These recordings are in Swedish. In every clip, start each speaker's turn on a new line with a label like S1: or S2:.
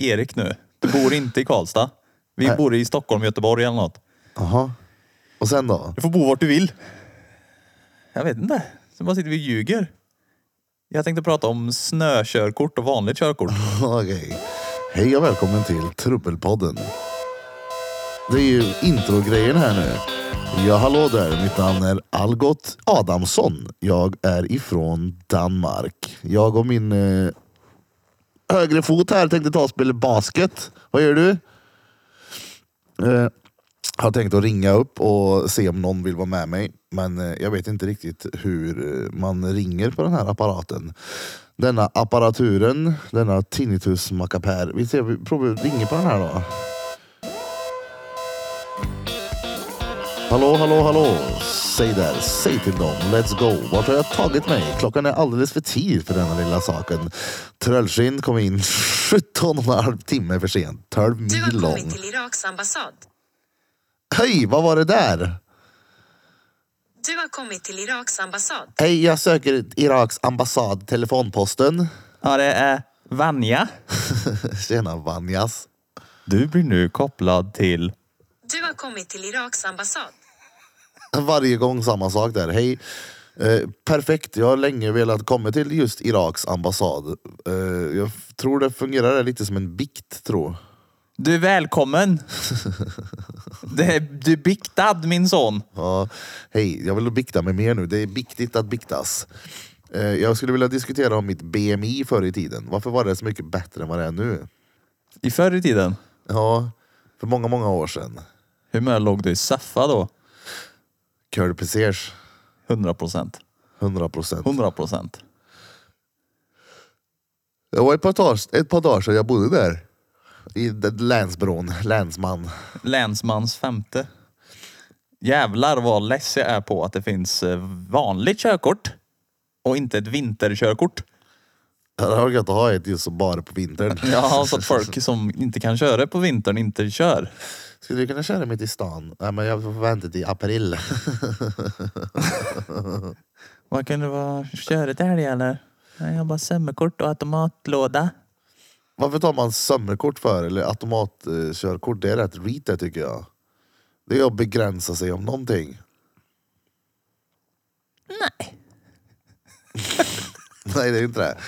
S1: Erik nu, du bor inte i Karlstad. Vi
S2: Nej.
S1: bor i Stockholm, Göteborg eller något.
S2: Jaha. Och sen då?
S1: Du får bo vart du vill. Jag vet inte. Så bara sitter vi och ljuger. Jag tänkte prata om snökörkort och vanligt körkort.
S2: Okej. Hej och välkommen till Trubbelpodden. Det är ju introgrejen här nu. Ja, hallå där. Mitt namn är Algot Adamsson. Jag är ifrån Danmark. Jag och min eh, högre fot här tänkte ta och spela basket. Vad gör du? Eh, har tänkt att ringa upp och se om någon vill vara med mig. Men eh, jag vet inte riktigt hur eh, man ringer på den här apparaten. Denna apparaturen, denna tinnitus-mackapär. Vi ser, vi provar att ringa på den här då. Hallå, hallå, hallå. Säg där, säg till dem. Let's go. Vart har jag tagit mig? Klockan är alldeles för tid för denna lilla saken. Tröllskinn kom in 17 och en halv timme för sent. 12
S3: Du
S2: mil
S3: har
S2: lång.
S3: kommit till Iraks ambassad.
S2: Hej, vad var det där?
S3: Du har kommit till Iraks ambassad.
S2: Hej, jag söker Iraks ambassad, telefonposten.
S1: Ja, det är Vanja.
S2: Tjena Vanjas.
S1: Du blir nu kopplad till...
S3: Du har kommit till Iraks ambassad.
S2: Varje gång samma sak där. Hej. Eh, perfekt, jag har länge velat komma till just Iraks ambassad. Eh, jag f- tror det fungerar där lite som en bikt, tror
S1: Du är välkommen. Det är, du är biktad min son.
S2: Ja, hej, jag vill bikta mig mer nu. Det är viktigt att biktas. Eh, jag skulle vilja diskutera om mitt BMI förr i tiden. Varför var det så mycket bättre än vad det är nu?
S1: I förr i tiden,
S2: Ja, för många, många år sedan.
S1: hur mycket låg du i Säffa då?
S2: Curl Pesers,
S1: 100 procent.
S2: 100 procent.
S1: 100 procent.
S2: Det var ett par, dagar, ett par dagar sedan jag bodde där. I det- länsbron, länsman.
S1: Länsmans femte. Jävlar vad less jag är på att det finns eh, vanligt körkort och inte ett vinterkörkort.
S2: Jag har gött att ha ett just som bara på vintern.
S1: Ja, så att folk som inte kan köra på vintern inte kör.
S2: Skulle du kunna köra mitt i stan? Nej, men jag får vänta till april.
S1: Vad kan det vara? Köret älg eller? Nej, jag har bara sömmerkort och automatlåda.
S2: Varför tar man sömmerkort för? Eller automatkörkort? Det är rätt reet det tycker jag. Det är att begränsa sig om någonting.
S1: Nej.
S2: Nej, det är inte det.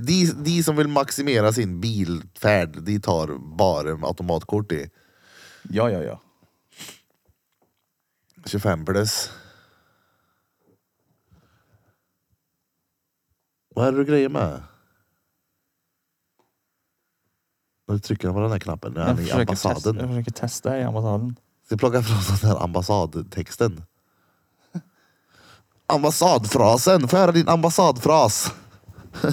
S2: De, de som vill maximera sin bilfärd, de tar bara automatkort i.
S1: Ja, ja, ja.
S2: 25 plus. Vad är det du grejer med? Nu trycker han på den här knappen. Nu är han i
S1: testa, jag
S2: ambassaden.
S1: försöker testa i ambassaden.
S2: Ska plocka fram den här ambassadtexten. Ambassadfrasen. Får jag höra din ambassadfras?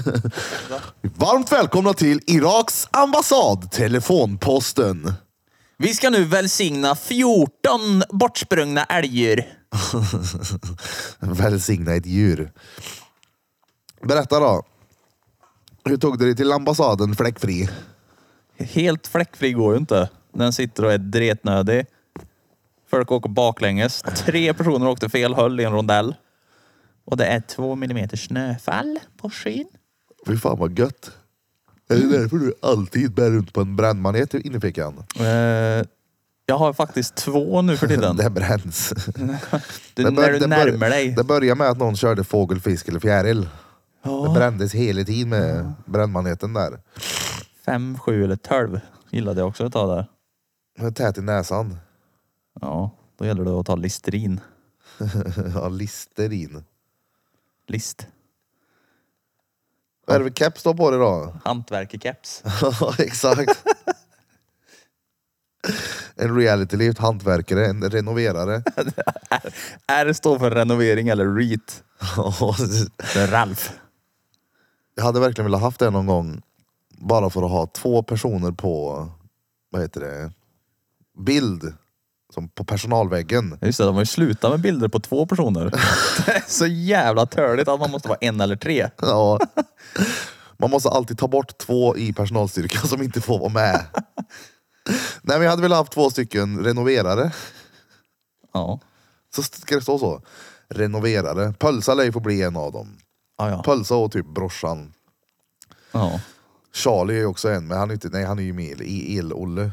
S2: Varmt välkomna till Iraks ambassad, telefonposten.
S1: Vi ska nu välsigna 14 bortsprungna älgdjur.
S2: Välsigna ett djur. Berätta då. Hur tog du dig till ambassaden fläckfri?
S1: Helt fläckfri går ju inte. Den sitter och är dretnödig. Folk åker baklänges. Tre personer åkte fel höll i en rondell. Och det är två millimeter snöfall på skyn.
S2: Fy fan vad gött. Är det därför du alltid bär runt på en brännmanet i innerfickan?
S1: Eh, jag har faktiskt två nu för tiden.
S2: Det bränns.
S1: Du,
S2: Det bör-
S1: när du
S2: det bör-
S1: närmar dig.
S2: Det började med att någon körde fågel, fisk eller fjäril. Det
S1: Ja,
S2: brändes hela tiden med brännmaneten där.
S1: fem, sju eller tolv gillade jag också att ta där.
S2: Med Tät i näsan.
S1: Ja, då gäller det att ta Listerin.
S2: ja, listerin.
S1: List.
S2: Vad är det för keps du har på dig då?
S1: Hantverkerkeps.
S2: Ja, exakt. en reality-lift, hantverkare, en renoverare.
S1: R står för renovering eller REIT. För Ralf.
S2: jag hade verkligen velat haft det någon gång. Bara för att ha två personer på, vad heter det, bild. Som på personalväggen.
S1: Just det, de har ju slutat med bilder på två personer. Det är så jävla törligt att man måste vara en eller tre.
S2: Ja. Man måste alltid ta bort två i personalstyrkan som inte får vara med. Nej men jag hade velat haft två stycken renoverare.
S1: Ja.
S2: Så ska det stå så. Renoverare. Pölsa lär ju få bli en av dem.
S1: Ja, ja.
S2: Pölsa och typ brorsan.
S1: ja.
S2: Charlie är också en, men han är, inte, nej, han är ju med i El-Olle.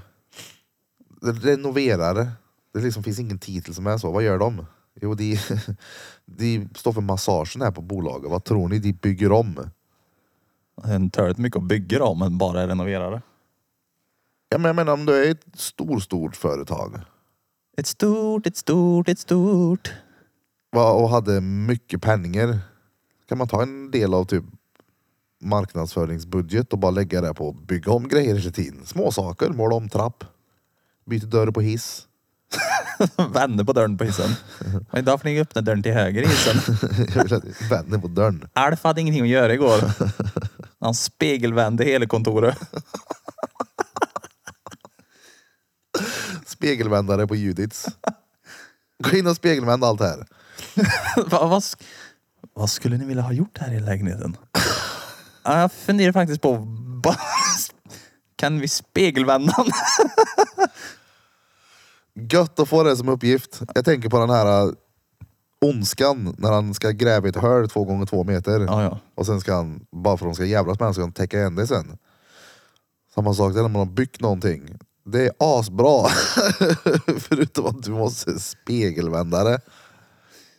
S2: Renoverare. Det liksom finns ingen titel som är så. Vad gör de? Jo, de, de står för massagen här på bolaget. Vad tror ni de bygger om?
S1: En turret mycket att bygga då, men bara renovera det.
S2: Ja, men jag menar om du är ett stor, stort företag
S1: Ett stort, ett stort, ett stort.
S2: va, och hade mycket pengar. Kan man ta en del av typ marknadsföringsbudget och bara lägga det på att bygga om grejer hela tiden. Små saker, måla om trapp, byta dörr på hiss.
S1: Vände på dörren på hissen. Men idag får ni öppna dörren till höger i hissen.
S2: Vänder på dörren.
S1: Alf hade ingenting att göra igår. Han spegelvände hela kontoret.
S2: Spegelvändare på Judits. Gå in och spegelvända allt här.
S1: vad, vad, sk- vad skulle ni vilja ha gjort här i lägenheten? Ja, Jag funderar faktiskt på... bara- Kan vi spegelvända den?
S2: Gött att få det som uppgift. Jag tänker på den här äh, ondskan när han ska gräva i ett hål två gånger två meter.
S1: Ja, ja.
S2: Och sen ska han, bara för att de ska jävlas med honom, ska han täcka igen det sen. Samma sak där när man har byggt någonting. Det är asbra. Förutom att du måste spegelvända det.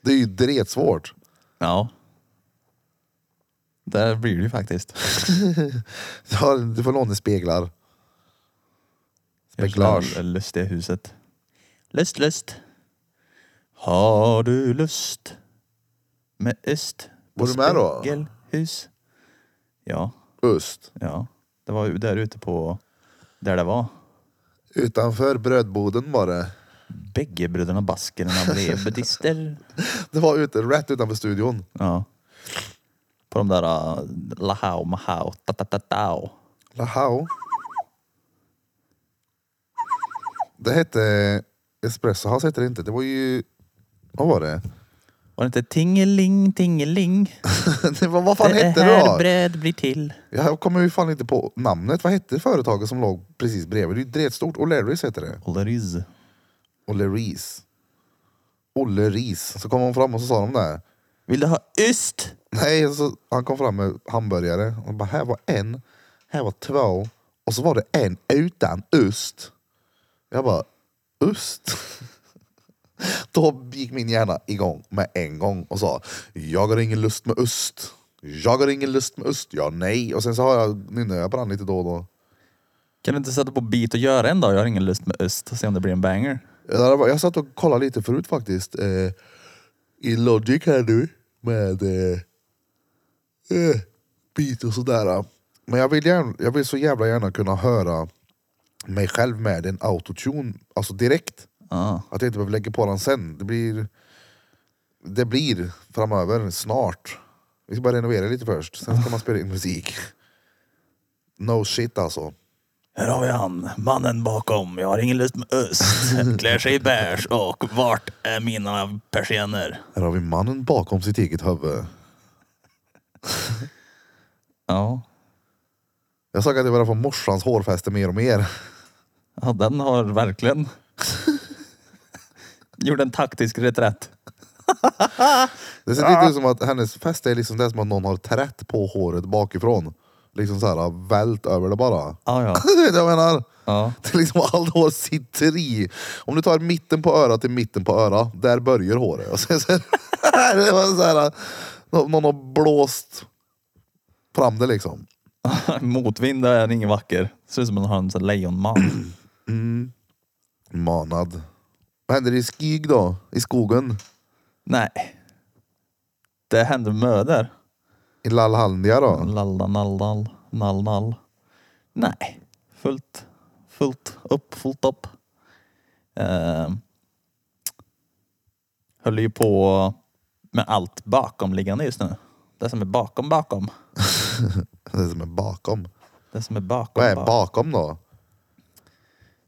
S2: Det är ju dretsvårt.
S1: Ja. Där blir det ju faktiskt.
S2: Ja, Du får låna speglar. Speglage.
S1: Jävla Lust i huset. Lust, lust. Har du lust med öst? på
S2: Var du med då?
S1: Spegelhus. Ja,
S2: Öst.
S1: ja. Det var ju där ute på... Där det var.
S2: Utanför brödboden var det.
S1: Bägge bröderna Baskerna blev buddhister.
S2: Det var ute, rätt utanför studion.
S1: Ja. På de där uh, lahao mahao ta ta ta tao.
S2: Lahao. Det hette Espresso House hette det inte. Det var ju... Vad var det?
S1: Var det inte tingeling tingeling?
S2: det var, vad fan
S1: det
S2: hette det
S1: här
S2: då?
S1: bröd blir till.
S2: Jag kommer ju fan inte på namnet. Vad hette företaget som låg precis bredvid? Det är ju dretstort. O'Learys heter det.
S1: Olaris.
S2: O'Learys. O'Learys. Så kom hon fram och så sa de där.
S1: Vill du ha yst?
S2: Nej, så han kom fram med hamburgare. Och bara, här var en, här var två och så var det en utan ost. Jag bara, ost? Då gick min hjärna igång med en gång och sa, jag har ingen lust med ost. Jag har ingen lust med ost. Ja, nej. Och sen så har jag, nynnar jag på den lite då och då.
S1: Kan du inte sätta på beat och göra en dag? Jag har ingen lust med öst och se om det blir en banger.
S2: Jag var- jag satt och kollade lite förut faktiskt. Eh, I Logic här nu. Med eh, eh, beat och sådär. Men jag vill, gärna, jag vill så jävla gärna kunna höra mig själv med en autotune. Alltså direkt.
S1: Ja.
S2: Att jag inte behöver lägga på den sen. Det blir, det blir framöver, snart. Vi ska bara renovera lite först. Sen ska man spela in musik. No shit alltså.
S1: Här har vi han, mannen bakom. Jag har ingen lust med öst. Klär sig i bärs och vart är mina persienner?
S2: Här har vi mannen bakom sitt eget huvud.
S1: Ja.
S2: Jag såg att jag börjar få morsans hårfäste mer och mer.
S1: ja, den har verkligen gjort en taktisk reträtt.
S2: Det ser lite ut som att hennes fäste är liksom det som att någon har trätt på håret bakifrån. Liksom så här vält över det bara.
S1: Ja, ja.
S2: Du vet vad jag menar?
S1: ja.
S2: Det är liksom allt hår sitter i. Om du tar mitten på örat till mitten på örat, där börjar håret. Och sen, sen, det var så här, nå- någon har blåst fram det liksom.
S1: Motvind där är ingen vacker. Ser ut som en hans lejonman.
S2: Manad. Vad händer i skig då? I skogen?
S1: Nej. Det händer möder.
S2: I Lallhaldia då?
S1: Lalla nallal nall nall. Nej. Fullt, fullt upp, fullt upp. Eh, höll ju på med allt bakomliggande just nu. Det som är bakom bakom.
S2: Det som är bakom.
S1: Det som är bakom
S2: Vad är
S1: bakom.
S2: bakom då?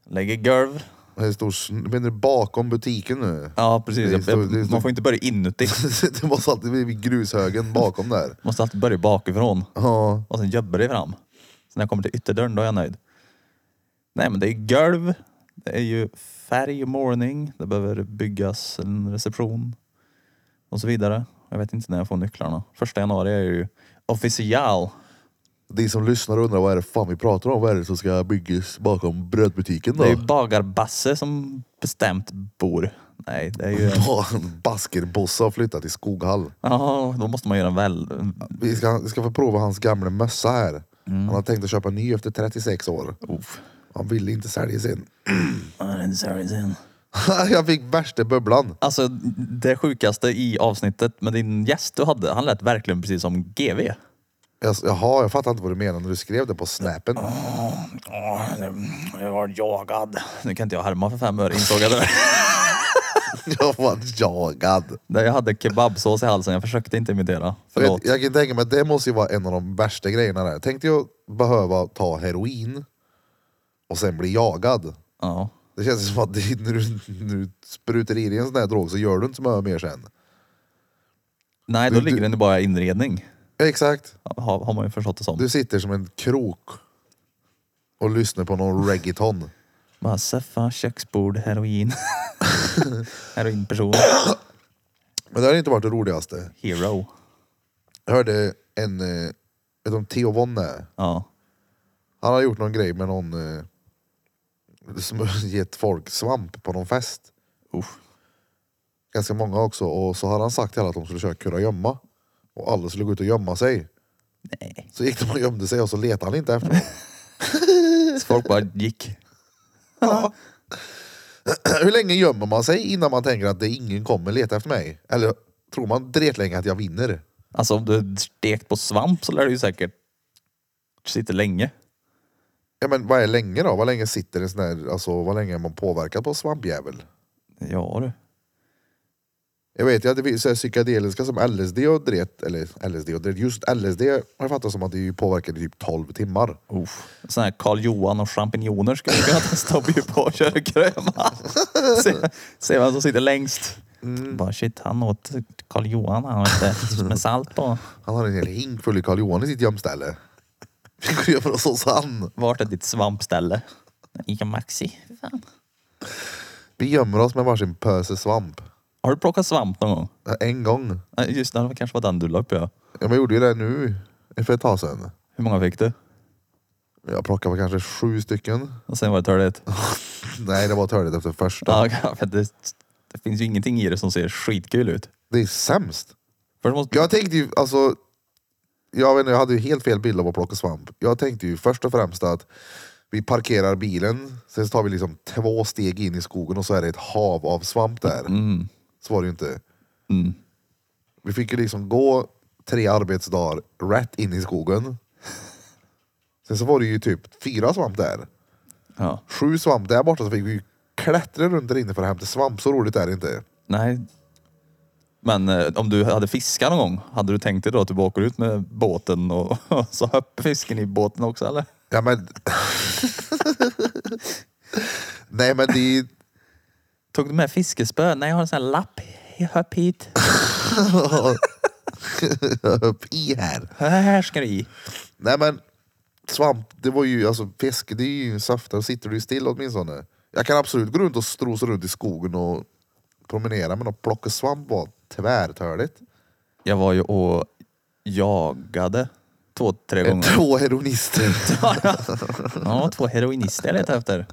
S1: Lägger golv.
S2: Det är stor, sn- menar du bakom butiken nu?
S1: Ja precis.
S2: Det är
S1: Jag,
S2: stor- det är
S1: jag,
S2: stor-
S1: man får inte börja inuti.
S2: det måste alltid bli grushögen bakom där.
S1: Måste alltid börja bakifrån.
S2: Ja.
S1: Och sen jobbar det fram. Så när jag kommer till ytterdörren då är jag nöjd. Nej men det är golv. Det är ju färg och målning. Det behöver byggas en reception. Och så vidare. Jag vet inte när jag får nycklarna. Första januari är jag ju official.
S2: Ni som lyssnar undrar vad är det fan vi pratar om? Vad är det som ska byggas bakom brödbutiken då?
S1: Det är ju bagar-Basse som bestämt bor. Nej, det är ju...
S2: Fan, Baskerbosse har flyttat till Skoghall.
S1: Ja, då måste man göra en väl...
S2: Vi ska, vi ska få prova hans gamla mössa här.
S1: Mm.
S2: Han har tänkt att köpa en ny efter 36 år.
S1: Uff.
S2: Han ville inte sälja sin.
S1: Sorry,
S2: Jag fick värsta bubblan.
S1: Alltså det sjukaste i avsnittet med din gäst du hade, han lät verkligen precis som GV.
S2: Jag, jaha, jag fattar inte vad du menar när du skrev det på snappen.
S1: Jag var jagad. Nu kan inte jag härma för fem öre insåg jag det.
S2: Jag var jagad.
S1: Där jag hade kebabsås i halsen, jag försökte inte imitera.
S2: Jag,
S1: Förlåt.
S2: vet, jag kan tänka mig att det måste ju vara en av de värsta grejerna där. Tänk dig att behöva ta heroin och sen bli jagad.
S1: Ja.
S2: Det känns som att det, när, du, när du sprutar i dig en sån här drog så gör du inte så mycket mer sen.
S1: Nej, då
S2: Du- du-
S1: ligger den ju bara i inredning.
S2: Exakt.
S1: Har, har man ju förstått det som.
S2: Du sitter som en krok och lyssnar på någon reggaeton.
S1: Bara seffa, köksbord, heroin. Heroinperson.
S2: Men det har inte varit det roligaste.
S1: Hero.
S2: Jag hörde en, eh, vet du om Theo Vonne?
S1: Ja.
S2: Han har gjort någon grej med någon eh, som gett folk svamp på någon fest.
S1: Usch.
S2: Ganska många också. Och så hade han sagt till alla att de skulle köra kurragömma. Och alla skulle gå ut och gömma sig.
S1: Nej.
S2: Så gick de och gömde sig och så letade han inte efter dem.
S1: Så folk bara gick.
S2: Hur länge gömmer man sig innan man tänker att det är ingen kommer leta efter mig? Eller tror man länge att jag vinner?
S1: Alltså om du är stekt på svamp så lär du ju säkert sitta länge.
S2: Ja men vad är länge då? Vad länge sitter en sån här, alltså vad länge är man påverkad på svampjävel?
S1: Ja du.
S2: Jag vet ju att det finns så här psykedeliska som LSD och dret, eller LSD och dret, just LSD har jag fattat som att det är ju påverkade i typ 12 timmar.
S1: Uff. Sån här Karl Johan och champinjoner ska vi kunna testa och bjuda på och köra kröma. Se, se vem som sitter längst. Bara shit, han åt Karl Johan han åt det med salt på.
S2: Han har en hel hink full i Karl Johan i sitt gömställe. Vi går över hos oss han.
S1: Vart är ditt svampställe? Ica Maxi. Fan.
S2: Vi gömmer oss med varsin pöse svamp.
S1: Har du plockat svamp någon gång?
S2: En gång.
S1: Nej, Just det, det kanske var den du la upp ja.
S2: Ja, men Jag gjorde ju det nu, för ett tag sedan.
S1: Hur många fick du?
S2: Jag plockade väl kanske sju stycken.
S1: Och sen var det törligt.
S2: Nej, det var törligt efter första.
S1: Ja, för det, det finns ju ingenting i det som ser skitkul ut.
S2: Det är sämst.
S1: Först måste,
S2: Jag tänkte ju, alltså. Jag vet inte, jag hade ju helt fel bild av att plocka svamp. Jag tänkte ju först och främst att vi parkerar bilen, sen så tar vi liksom två steg in i skogen och så är det ett hav av svamp där. Så var det ju inte.
S1: Mm.
S2: Vi fick ju liksom gå tre arbetsdagar rätt in i skogen. Sen så var det ju typ fyra svamp där.
S1: ja.
S2: Sju svamp där borta så fick vi ju klättra runt där inne för att hämta svamp. Så roligt är det inte.
S1: Nej. Men eh, om du hade fiskat någon gång, hade du tänkt dig då att du bara åker ut med båten och, och så hoppar fisken i båten också eller?
S2: Ja men... Nej men det är ju-
S1: Tog du med fiskespö? Nej, jag har en sån här lapp. Hopp hit.
S2: upp i här.
S1: Här ska du i.
S2: Nej men svamp, det var ju alltså fisk, det är ju saftar, sitter du ju still åtminstone. Jag kan absolut gå runt och strosa runt i skogen och promenera men att plocka svamp var tvärtörligt.
S1: Jag var ju och jagade två, tre
S2: Eh,
S1: gånger.
S2: Två heroinister.
S1: Ja, två heroinister jag letade efter.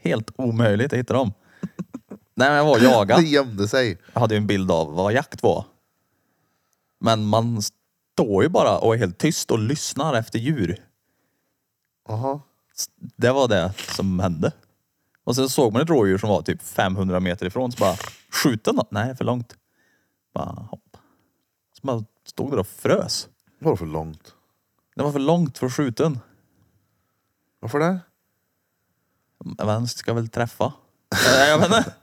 S1: Helt omöjligt att hitta dem. Nej, men jag var och jagade.
S2: Det gömde sig.
S1: Jag hade ju en bild av vad jakt var. Men man står ju bara och är helt tyst och lyssnar efter djur.
S2: Aha.
S1: Det var det som hände. Och sen såg man ett rådjur som var typ 500 meter ifrån. Så bara, skjut den då. Nej, för långt. Bara hopp. Så man stod där och frös.
S2: Var det för långt?
S1: Den var för långt för skjuten.
S2: Varför det?
S1: Men ska väl träffa. Nej, jag vet inte.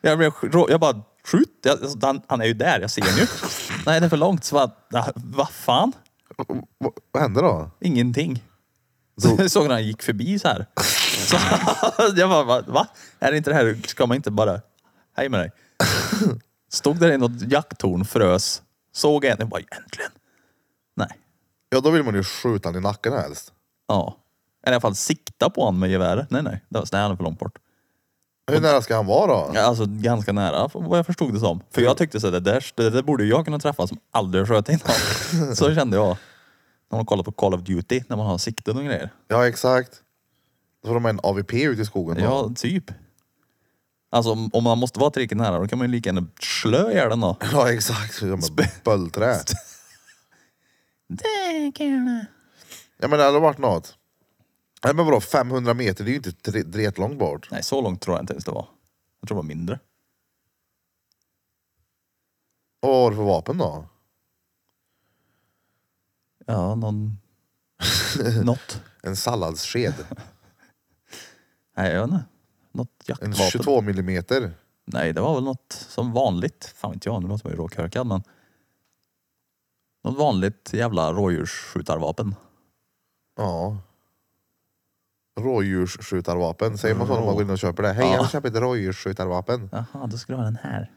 S1: Jag, blev, rå- jag bara, skjut. Jag, alltså, han, han är ju där, jag ser honom ju. Nej, det är för långt. Så bara, "Ah, vad fan?
S2: V- v- Vad hände då?
S1: Ingenting. Så jag såg när han gick förbi så här. Så jag bara, va? va? Är det inte det här, ska man inte bara, hej med dig. Stod där i något jakttorn, frös, såg en, jag bara, äntligen. Nej.
S2: Ja då vill man ju skjuta den i nacken helst.
S1: Ja. Eller i alla fall sikta på honom med geväret. Nej, nej. Det var, nej, han är för långt bort.
S2: Hur nära ska han vara då?
S1: Ja, Alltså ganska nära vad jag förstod det som. För jag tyckte så här, det där, det där borde jag kunna träffa som aldrig sköt innan. Så kände jag. När man kollar på Call of Duty, när man har sikten och grejer.
S2: Ja, exakt. Då får de en AVP ute i skogen. då.
S1: Ja, typ. Alltså om, om man måste vara tillräckligt nära, då kan man ju lika gärna slö ihjäl den då.
S2: ja exakt. Ja, men Böldträ.
S1: Det kan jag
S2: Ja, men det hade varit något. Nej, men vadå, 500 meter, det är ju inte tre- dret långt bort.
S1: Nej, så långt tror jag inte ens det var. Jag tror det var mindre.
S2: Och vad var det för vapen då?
S1: Ja, någon... Något.
S2: En salladssked.
S1: Nej, jag vet inte. Något
S2: En
S1: jaktvapen.
S2: 22 millimeter.
S1: Nej, det var väl något som vanligt. Fan vet jag, nu låter man ju råkörkad men. Något vanligt jävla rådjursskjutarvapen.
S2: Ja. Rådjursskjutarvapen. Säger man så när man går in och köper det? Hej, jag vill köpa ett rådjursskjutarvapen.
S1: Jaha, då ska du ha den här.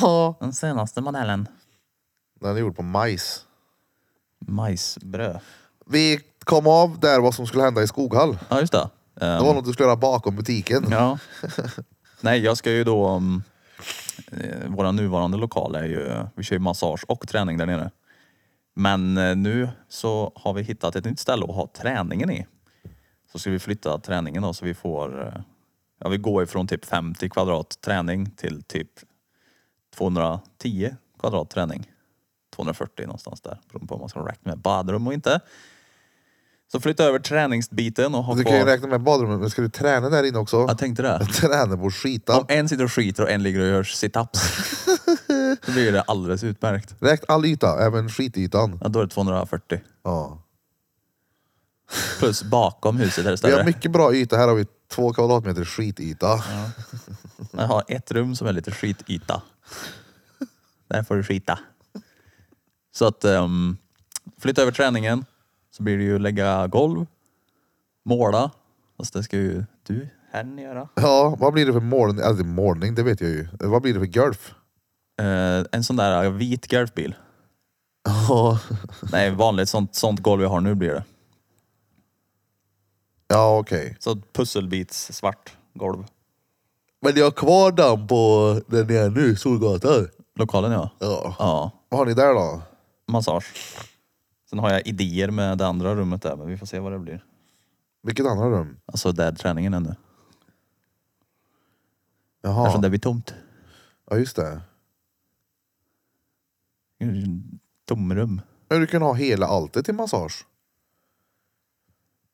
S2: Ja.
S1: Den senaste modellen.
S2: Den är gjord på majs.
S1: Majsbröd.
S2: Vi kom av där vad som skulle hända i Skoghall.
S1: Ja, just det. Eh,
S2: Det var något du skulle göra bakom butiken.
S1: Ja. Nej, jag ska ju då... Um, eh, våra nuvarande lokal är ju... Vi kör ju massage och träning där nere. Men eh, nu så har vi hittat ett nytt ställe att ha träningen i. Så ska vi flytta träningen då så vi får... eh, Ja, vi går ifrån typ 50 kvadrat träning till typ 210 kvadrat träning. 240 någonstans där. Beroende på om man ska räkna med badrum och inte. Så flytta över träningsbiten och ha
S2: Du kan ju
S1: kvar...
S2: räkna med badrummet, men ska du träna där inne också?
S1: Jag tänkte det.
S2: Träna på att skita.
S1: Om en sitter och skiter och en ligger och gör situps. då blir det alldeles utmärkt.
S2: Räkna all yta, även skitytan.
S1: Ja, då är det 240.
S2: Ja.
S1: Plus bakom huset är det
S2: Vi har
S1: större.
S2: mycket bra yta, här har vi två kvadratmeter skityta.
S1: Jag har ett rum som är lite skityta. Där får du skita. Så att ehm, flytta över träningen så blir det ju lägga golv, måla. Fast det ska ju du, herrn, göra.
S2: Ja, vad blir det för målning? Alltså målning, det vet jag ju. Vad blir det för golf?
S1: Eh, en sån där eh, vit golfbil.
S2: Ja,
S1: Nej, vanligt sånt, sånt golv jag har nu blir det.
S2: ja okej.
S1: Så pusselbits svart golv.
S2: Men jag har kvar den på den ni är nu, Solgatan.
S1: Lokalen ja.
S2: Ja.
S1: Ja.
S2: Vad har ni där då?
S1: massage. Sen har jag idéer med det andra rummet där, men vi får se vad det blir.
S2: Vilket andra rum?
S1: Alltså där träningen är nu. Eftersom
S2: Jaha,
S1: det blir tomt.
S2: ja just det.
S1: Tomrum.
S2: Men du kan ha hela alltet till massage.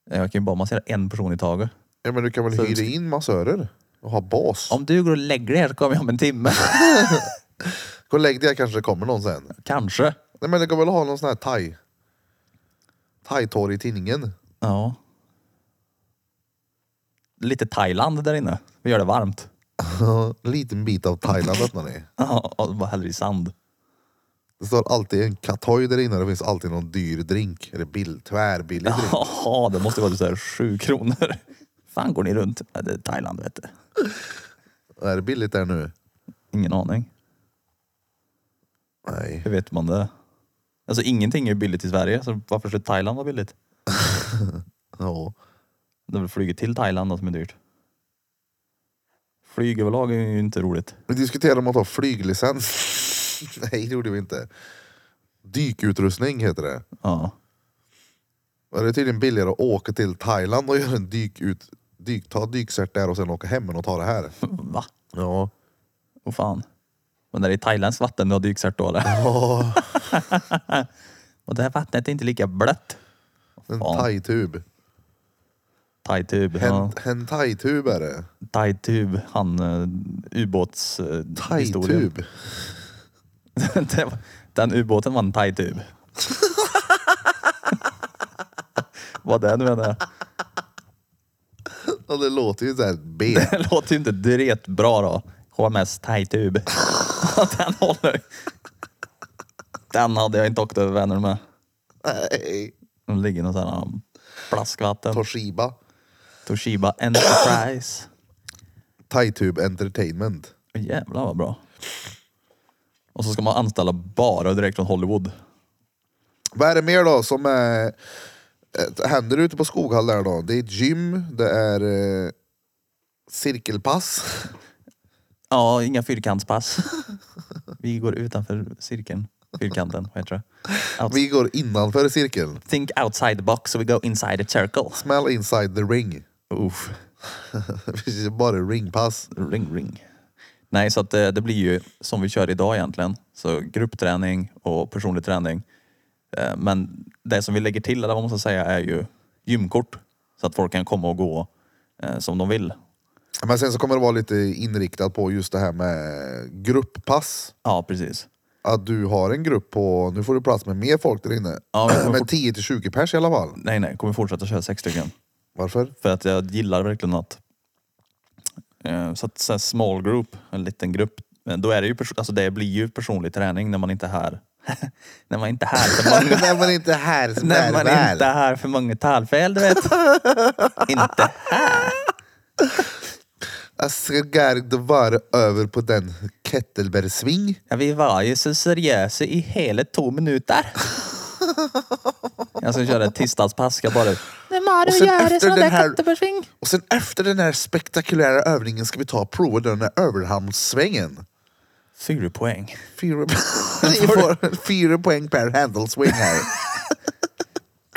S1: Jag kan ju bara massera en person i taget.
S2: Ja men du kan väl
S1: Så-
S2: hyra in massörer? Och ha bas.
S1: Om du går och lägger dig här så kommer jag om en timme.
S2: Gå och lägg dig här kanske det kommer någon sen.
S1: Kanske.
S2: Nej men du kan väl ha någon sån här thai. Thai-torg i tidningen.
S1: Ja. Lite Thailand där inne. Vi gör det varmt.
S2: En liten bit av Thailand öppnar ni.
S1: Ja, och bara häller i sand.
S2: Det står alltid en katoj där inne. Det finns alltid någon dyr drink. Eller bill, tvärbillig drink.
S1: Jaha, det måste vara typ så här sju kronor. fan går ni runt? Ja, det är Thailand vet du.
S2: Är det billigt där nu?
S1: Ingen aning.
S2: Nej.
S1: Hur vet man det? Alltså ingenting är ju billigt i Sverige, så varför skulle Thailand vara billigt?
S2: Ja.
S1: De väl flyger till Thailand då, som är dyrt. Flyg överlag är ju inte roligt.
S2: Vi diskuterade om att ha flyglicens. Nej det gjorde vi inte. Dykutrustning heter det.
S1: Ja.
S2: Och det är tydligen billigare att åka till Thailand och göra en dyk ut, dyk, ta dykcert där och sen åka hem och ta det här.
S1: Va?
S2: Ja.
S1: Åh fan. Men det är i thailändskt vatten du har dykcert då eller?
S2: Ja,
S1: Och det här vattnet är inte lika blött.
S2: en
S1: Fan.
S2: thai-tub.
S1: Thai-tub. Ja.
S2: Hen- Hentai-tub är det.
S1: Thai-tub. Han uh, ubåts... Uh, historien.
S2: Thai-tub.
S1: Det var- Den ubåten var en thai-tub. Vad det nu menar
S2: Ja, det låter ju såhär B.
S1: Det låter ju inte direkt bra då. HMS Thai-tub. Den håller. Den hade jag inte åkt över Vänern med.
S2: Nej.
S1: De ligger i någon sån här flaskvatten.
S2: Toshiba.
S1: Toshiba Enterprise.
S2: Thai-tub entertainment.
S1: Åh, Jävlar vad bra. Och så ska man anställa bara direkt från Hollywood.
S2: Vad är det mer då som eh, eh, händer ute på Skoghall där då? Det är ett gym, det är eh, cirkelpass.
S1: Ja, inga fyrkantspass. Vi går utanför cirkeln. Fyrkanten, vad heter det? Out-
S2: Vi går innanför cirkeln.
S1: Think outside the box, so we go inside the circle.
S2: Smell inside the ring.
S1: Oof.
S2: Precis, Bara ringpass.
S1: Ring, ring. Nej, så att eh, det, det blir ju som vi kör idag egentligen. Så gruppträning och personlig träning. Eh, Men det som vi lägger till, eller vad man ska säga, är ju gymkort. Så att folk kan komma och gå eh, som de vill.
S2: Men sen så kommer det vara lite inriktat på just det här med grupppass.
S1: Ja, precis.
S2: Att du har en grupp på, nu får du plats med mer folk där inne.
S1: Ja, men-
S2: med 10 till 20 pers i alla fall.
S1: Nej, nej, kommer fortsätta köra sex stycken.
S2: Varför?
S1: För att jag gillar verkligen att... eh, Så att så här small group, en liten grupp. men Då är det ju, pers- alltså det blir ju personlig träning när man inte är här. när man inte är här för många,
S2: När man inte är här som
S1: när
S2: är
S1: man
S2: väl.
S1: inte är här för många talfel, du vet. inte här.
S2: Jag ska garda vara över på den kettlebellsving.
S1: Ja, vi var ju så seriösa i hela två minuter. jag ska köra ett tisdagspass. Jag bara... Det
S2: Och
S1: Mario
S2: sen
S1: gör
S2: efter
S1: en sån
S2: den
S1: där
S2: här-
S1: kattebersving.
S2: Och sen efter den här spektakulära övningen ska vi ta och prova den här överhandssvängen.
S1: Fyra poäng.
S2: Fyra, Ni får fyra poäng per handelswing här.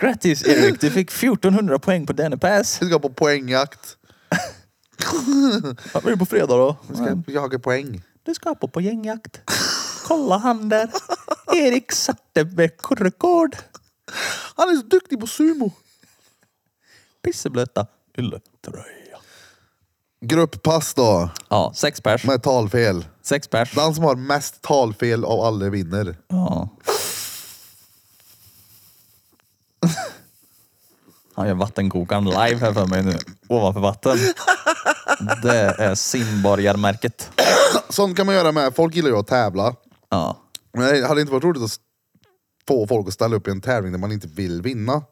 S1: Grattis Erik, du fick 1400 poäng på denna pass.
S2: Vi ska på poängjakt.
S1: Vad blir det på fredag då?
S2: Vi ska jaga poäng.
S1: Du ska på på gängjakt. Kolla han där. Erik satte veckorekord.
S2: Han är så duktig på sumo.
S1: Pisseblöta ylletröja.
S2: Grupppass då,
S1: Ja, sex pers.
S2: med talfel.
S1: Sex pers.
S2: Den som har mest talfel av alla vinner.
S1: Ja. Han gör vattenkokaren live här för mig nu. Ovanför vatten. Det är simborgarmärket.
S2: Sånt kan man göra med. Folk gillar ju att tävla.
S1: Ja.
S2: Men det hade inte varit roligt att få folk att ställa upp i en tävling där man inte vill vinna.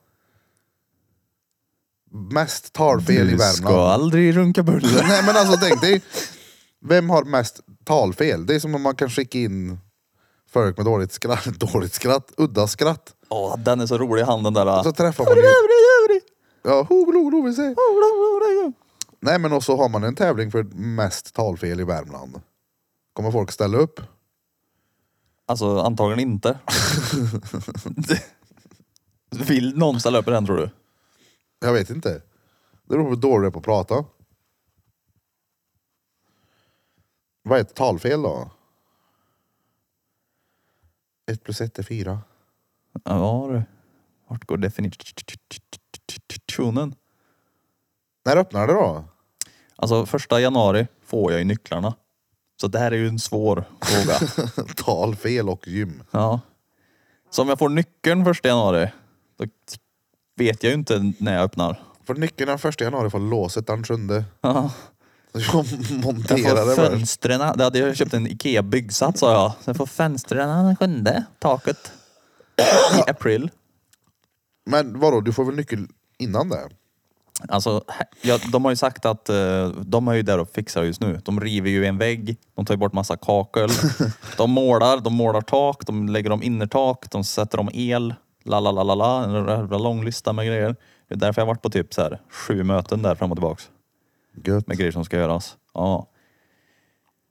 S2: Mest talfel i
S1: Du ska
S2: Värmland.
S1: aldrig runka bulle.
S2: Nej men alltså tänk dig. Vem har mest talfel? Det är som om man kan skicka in folk med dåligt skratt, dåligt skratt, udda skratt.
S1: Åh, den är så rolig han den där.
S2: Och så träffar man ju... Ja, ho, lo, lo, vi ser. Nej men och så har man en tävling för mest talfel i Värmland. Kommer folk ställa upp?
S1: Alltså antagligen inte. Vill någon ställa upp i den tror du?
S2: Jag vet inte. Det beror på hur dålig du är på att prata. Vad är ett talfel då? Ett plus ett är fyra.
S1: Ja du. Vart går definitionen?
S2: När öppnar det då?
S1: Alltså första januari får jag ju nycklarna. Så det här är ju en svår fråga.
S2: Talfel och gym.
S1: Ja. Så om jag får nyckeln första januari, då vet jag ju inte när jag öppnar.
S2: För nyckeln den första januari får låset den sjunde.
S1: Ja.
S2: Så Jag
S1: Jag får
S2: monterar det först.
S1: fönstren, det hade jag köpt en IKEA byggsats sa jag. Så jag får fönstren den sjunde, taket. I april.
S2: Men vadå, du får väl nyckel innan det?
S1: Alltså, he- ja, de har ju sagt att eh, de är ju där och fixar just nu. De river ju en vägg, de tar ju bort massa kakel. de målar, de målar tak, de lägger om innertak, de sätter om el. La, la, la, la, la. En jävla lång lista med grejer. Det är därför jag har varit på typ så här, sju möten där fram och tillbaks
S2: Gött.
S1: med grejer som ska göras. Ja.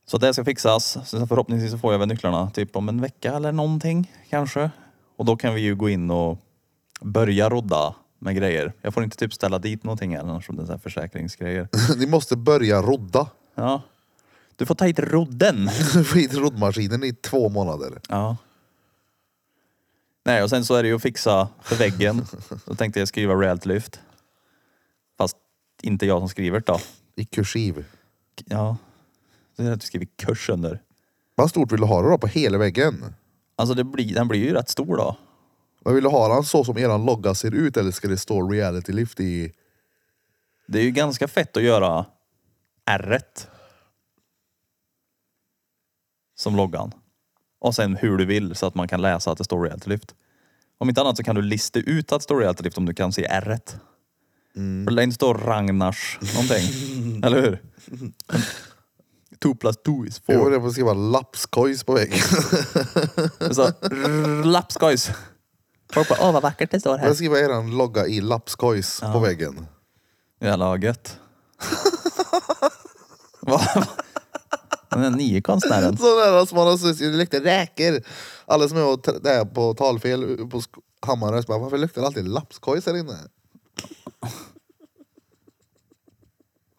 S1: Så det ska fixas. Så förhoppningsvis så får jag väl nycklarna typ om en vecka eller någonting kanske. Och då kan vi ju gå in och börja rodda med grejer. Jag får inte typ ställa dit någonting än, annars om det är så här försäkringsgrejer.
S2: Ni måste börja rodda.
S1: Ja. Du får ta hit rodden.
S2: Skit i roddmaskinen i två månader.
S1: Ja. Nej, och sen så är det ju att fixa för väggen. Då tänkte jag skriva rejält lyft. Fast inte jag som skriver det då.
S2: I kursiv.
S1: Ja. Det är att du skriver kurs under.
S2: Vad stort vill du ha det då på hela väggen?
S1: Alltså det blir, den blir ju rätt stor då.
S2: Men vill du ha den så som eran logga ser ut eller ska det stå reality lift i?
S1: Det är ju ganska fett att göra r Som loggan. Och sen hur du vill så att man kan läsa att det står Reality Lift. Om inte annat så kan du lista ut att det står Reality Lift om du kan se r För det lär inte stå Ragnars någonting. Eller hur? Two plus two is
S2: Jag
S1: four.
S2: vill skriva lapskojs på väggen.
S1: Så, lapskojs. Folk bara, åh vad vackert det står
S2: Jag vill
S1: här.
S2: skriva eran logga i lapskojs på väggen.
S1: Jävla vad gött. Vad- Den där nye konstnären.
S2: Sån där som man har suttit, det luktar räkor. Alla som är och tra- där på talfel på sk- Hammarö, så bara, varför luktar det alltid lapskojs här inne?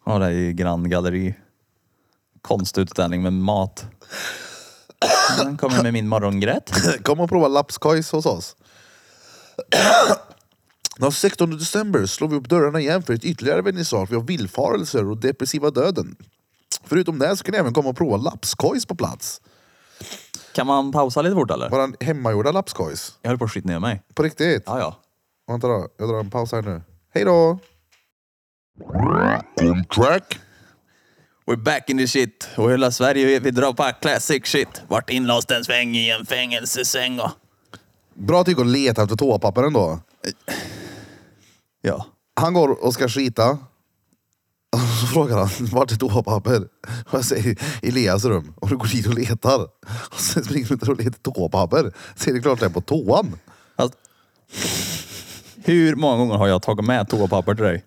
S1: Ja, det är ju Grand Galleri. Konstutställning med mat. Den kommer med min morgongrätt.
S2: Kom och prova lapskojs hos oss. Den 16 december slår vi upp dörrarna igen för ett ytterligare vernissage. Vi har villfarelser och depressiva döden. Förutom det så kan ni även komma och prova lapskojs på plats.
S1: Kan man pausa lite fort eller?
S2: Våran hemmagjorda lapskojs.
S1: Jag höll på att skita ner mig.
S2: På riktigt.
S1: Ja, ja.
S2: Vänta då, jag drar en paus här nu. Hej då! Contrack.
S1: We're back in the shit. Och hela Sverige, vi drar på classic shit. Vart inlåst en sväng i en fängelsesäng och...
S2: Bra att du gick och letade efter toapapper ändå.
S1: Ja.
S2: Han går och ska skita. Och så frågar han, vart är toapapper? Och jag säger, Elias rum. Och du går dit och letar. Och sen springer du där och letar toapapper. Ser det klart det är på toan.
S1: Fast, Alltså, hur många gånger har jag tagit med toapapper till dig?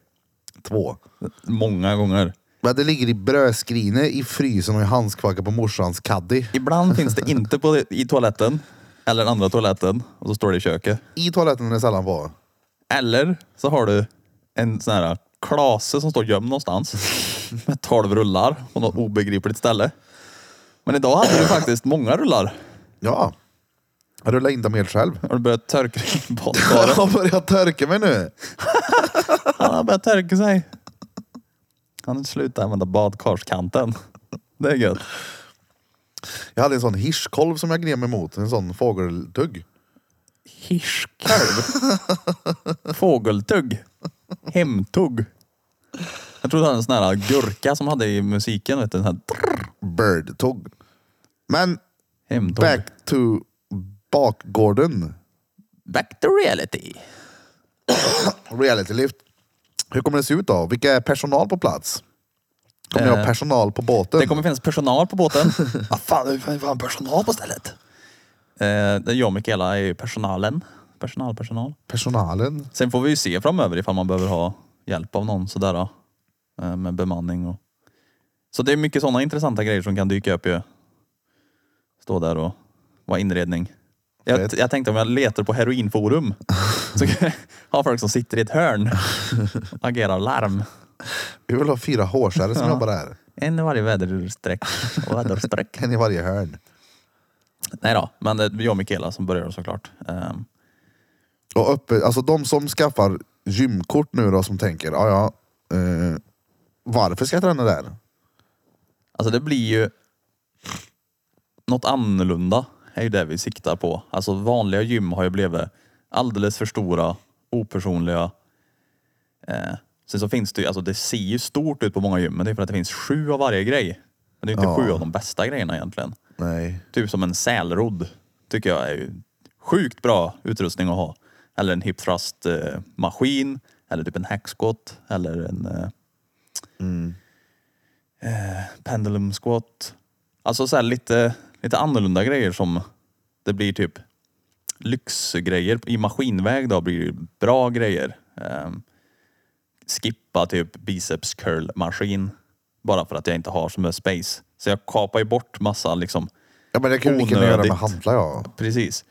S2: Två.
S1: Många gånger.
S2: Men det ligger i brödskrinet, i frysen och i handskfacket på morsans caddy.
S1: Ibland finns det inte på, i toaletten. Eller den andra toaletten. Och så står det i köket.
S2: I toaletten är det sällan på.
S1: Eller så har du en sån här klase som står gömd någonstans. Med tolv rullar på något obegripligt ställe. Men idag hade du faktiskt många rullar.
S2: Ja. Jag rullar in dem helt själv.
S1: Har du börjat törka i
S2: Jag
S1: badkaret?
S2: har börjat törka mig nu.
S1: Han har börjat törka sig. Han slutar använda badkarskanten. Det är gött.
S2: Jag hade en sån hirschkolv som jag gned mig mot. En sån fågeltugg.
S1: Hirschkalv. Fågeltugg. Hemtugg. Jag trodde han hade en sån här gurka som hade i musiken. Vet du, en sån här
S2: Birdtugg. Men
S1: hemtugg.
S2: back to bakgården.
S1: Back to reality.
S2: Reality lift. Hur kommer det se ut då? Vilka är personal på plats? Kommer jag ha
S1: Eh,
S2: personal på båten?
S1: Det kommer finnas personal på båten. Vad fan, det finns fan personal på stället. Eh, det är jag och Mikaela är ju personalen. Personal, personal.
S2: Personalen?
S1: Sen får vi ju se framöver ifall man behöver ha hjälp av någon sådär då. Eh, med bemanning och... Så det är mycket sådana intressanta grejer som kan dyka upp ju. Stå där och vara inredning. Jag,
S2: Fett.
S1: jag tänkte om jag letar på heroinforum så kan jag ha folk som sitter i ett hörn och agerar larm.
S2: Vi vill ha fyra hårskärror som jobbar här.
S1: En i varje väderstreck och väderstreck.
S2: En i varje hörn.
S1: Nej då, men det är jag och Mikaela som börjar såklart. Ehm,
S2: Och uppe, alltså de som skaffar gymkort nu då som tänker, "Ah, ja ja, eh, varför ska jag träna där?
S1: Alltså det blir ju något annorlunda är ju det vi siktar på. Alltså vanliga gym har ju blivit alldeles för stora, opersonliga. Eh, sen så finns det ju, alltså det ser ju stort ut på många gym men det är för att det finns sju av varje grej. Men det är ju inte
S2: Ja.
S1: sju av de bästa grejerna egentligen.
S2: Nej.
S1: Typ som en sälrodd tycker jag är ju sjukt bra utrustning att ha. Eller en hip thrust eh, maskin eller typ en hackskott eller en eh, eh, pendulum squat. Alltså så här lite, lite annorlunda grejer som det blir typ lyxgrejer i maskinväg då blir det ju bra grejer. Eh, skippa typ biceps curl maskin bara för att jag inte har så mycket space. Så jag kapar ju bort massa liksom
S2: Ja men det kan ju lika gärna göra med
S1: Onödigt.
S2: hantlar ja.
S1: Precis.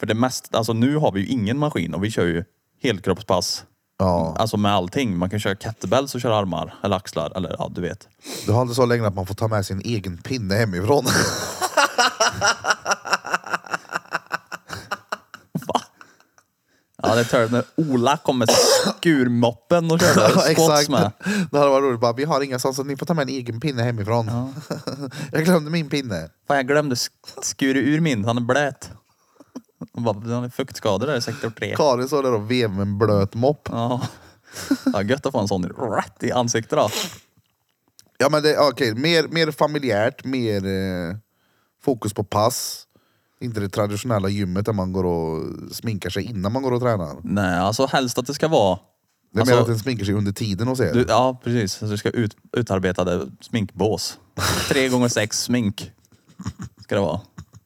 S1: För det mest, alltså nu har vi ju ingen maskin och vi kör ju helkroppspass.
S2: ja.
S1: Alltså med allting. Man kan köra kettlebells och köra armar eller axlar eller ja, du vet.
S2: Du har inte så länge att man får ta med sin egen pinne hemifrån.
S1: Ja, det är törligt när Ola kom med skurmoppen och körde squats med.
S2: Det hade varit roligt. Bara, vi har inga sånt så ni får ta med en egen pinne hemifrån. jag glömde min pinne.
S1: Fan, jag glömde sk- skura ur min. Han är blöt. Han bara, Han är fuktskadad där i sektor 3.
S2: Karin står där och vevar med en blöt mopp.
S1: Ja. ja, gött att få en sån rätt i ansiktet då.
S2: Ja men det, okej, mer, mer familjärt, mer eh, fokus på pass. Inte det traditionella gymmet där man går och sminkar sig innan man går och tränar.
S1: Nej, alltså helst att det ska vara...
S2: Det är
S1: alltså,
S2: mer att den sminkar sig under tiden hos er.
S1: Du, ja, precis. Så Du ska ut, utarbetade sminkbås. Tre gånger sex smink ska det vara.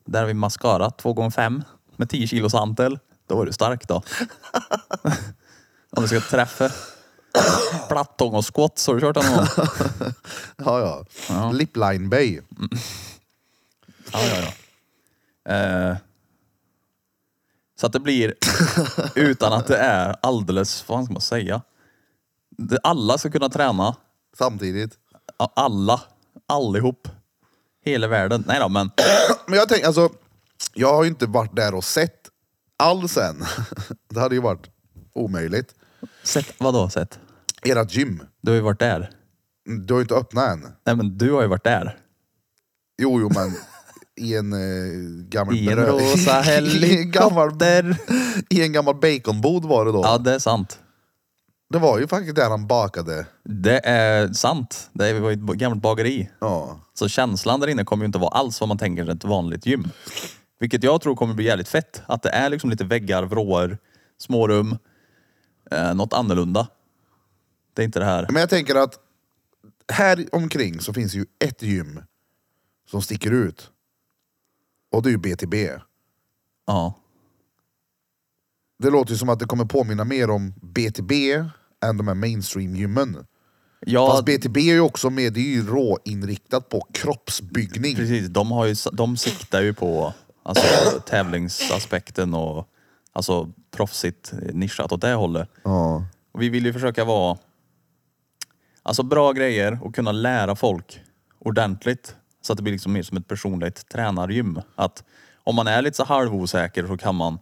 S1: Där har vi mascara, två gånger fem med 10 kilos hantel. Då är du stark då. Om du ska träffa. Plattång och squats har du kört den någon gång?
S2: Ja, ja. Lipline Bay.
S1: Mm. Ja, ja, ja. Eh, så att det blir, utan att det är alldeles, vad ska man säga? Det, alla ska kunna träna.
S2: Samtidigt.
S1: A- Alla. Allihop. Hela världen. Nej då, men
S2: Men jag tänker, alltså, jag har ju inte varit där och sett alls än. Det hade ju varit omöjligt.
S1: sett, vadå sett?
S2: Ert gym,
S1: Du har ju varit där.
S2: du har ju inte öppnat än.
S1: Nej men du har ju varit där.
S2: Jo, jo, men i en eh, gammal...
S1: I en
S2: berö-
S1: rosa
S2: I en gammal,
S1: helikopter.
S2: I en gammal baconbod var det då.
S1: Ja, det är sant.
S2: Det var ju faktiskt där han bakade.
S1: Det är sant. Det var ju ett gammalt bageri.
S2: Ja.
S1: Så känslan där inne kommer ju inte vara alls vad man tänker sig ett vanligt gym. Vilket jag tror kommer bli jävligt fett. Att det är liksom lite väggar, vrår, smårum. Eh, något annorlunda. Det är inte det här.
S2: Men jag tänker att här omkring så finns ju ett gym som sticker ut. Och det är ju BTB.
S1: Ja.
S2: Det låter ju som att det kommer påminna mer om BTB än de här mainstream-gymmen.
S1: ja
S2: Fast BTB är ju också mer, det är ju råinriktat på kroppsbyggning.
S1: precis. De, har ju, de siktar ju på alltså, tävlingsaspekten och alltså, proffsigt eh, nischat åt det hållet.
S2: Ja.
S1: Och vi vill ju försöka vara alltså bra grejer och kunna lära folk ordentligt. Så att det blir liksom mer som ett personligt tränargym. Att om man är lite så halvosäker så kan man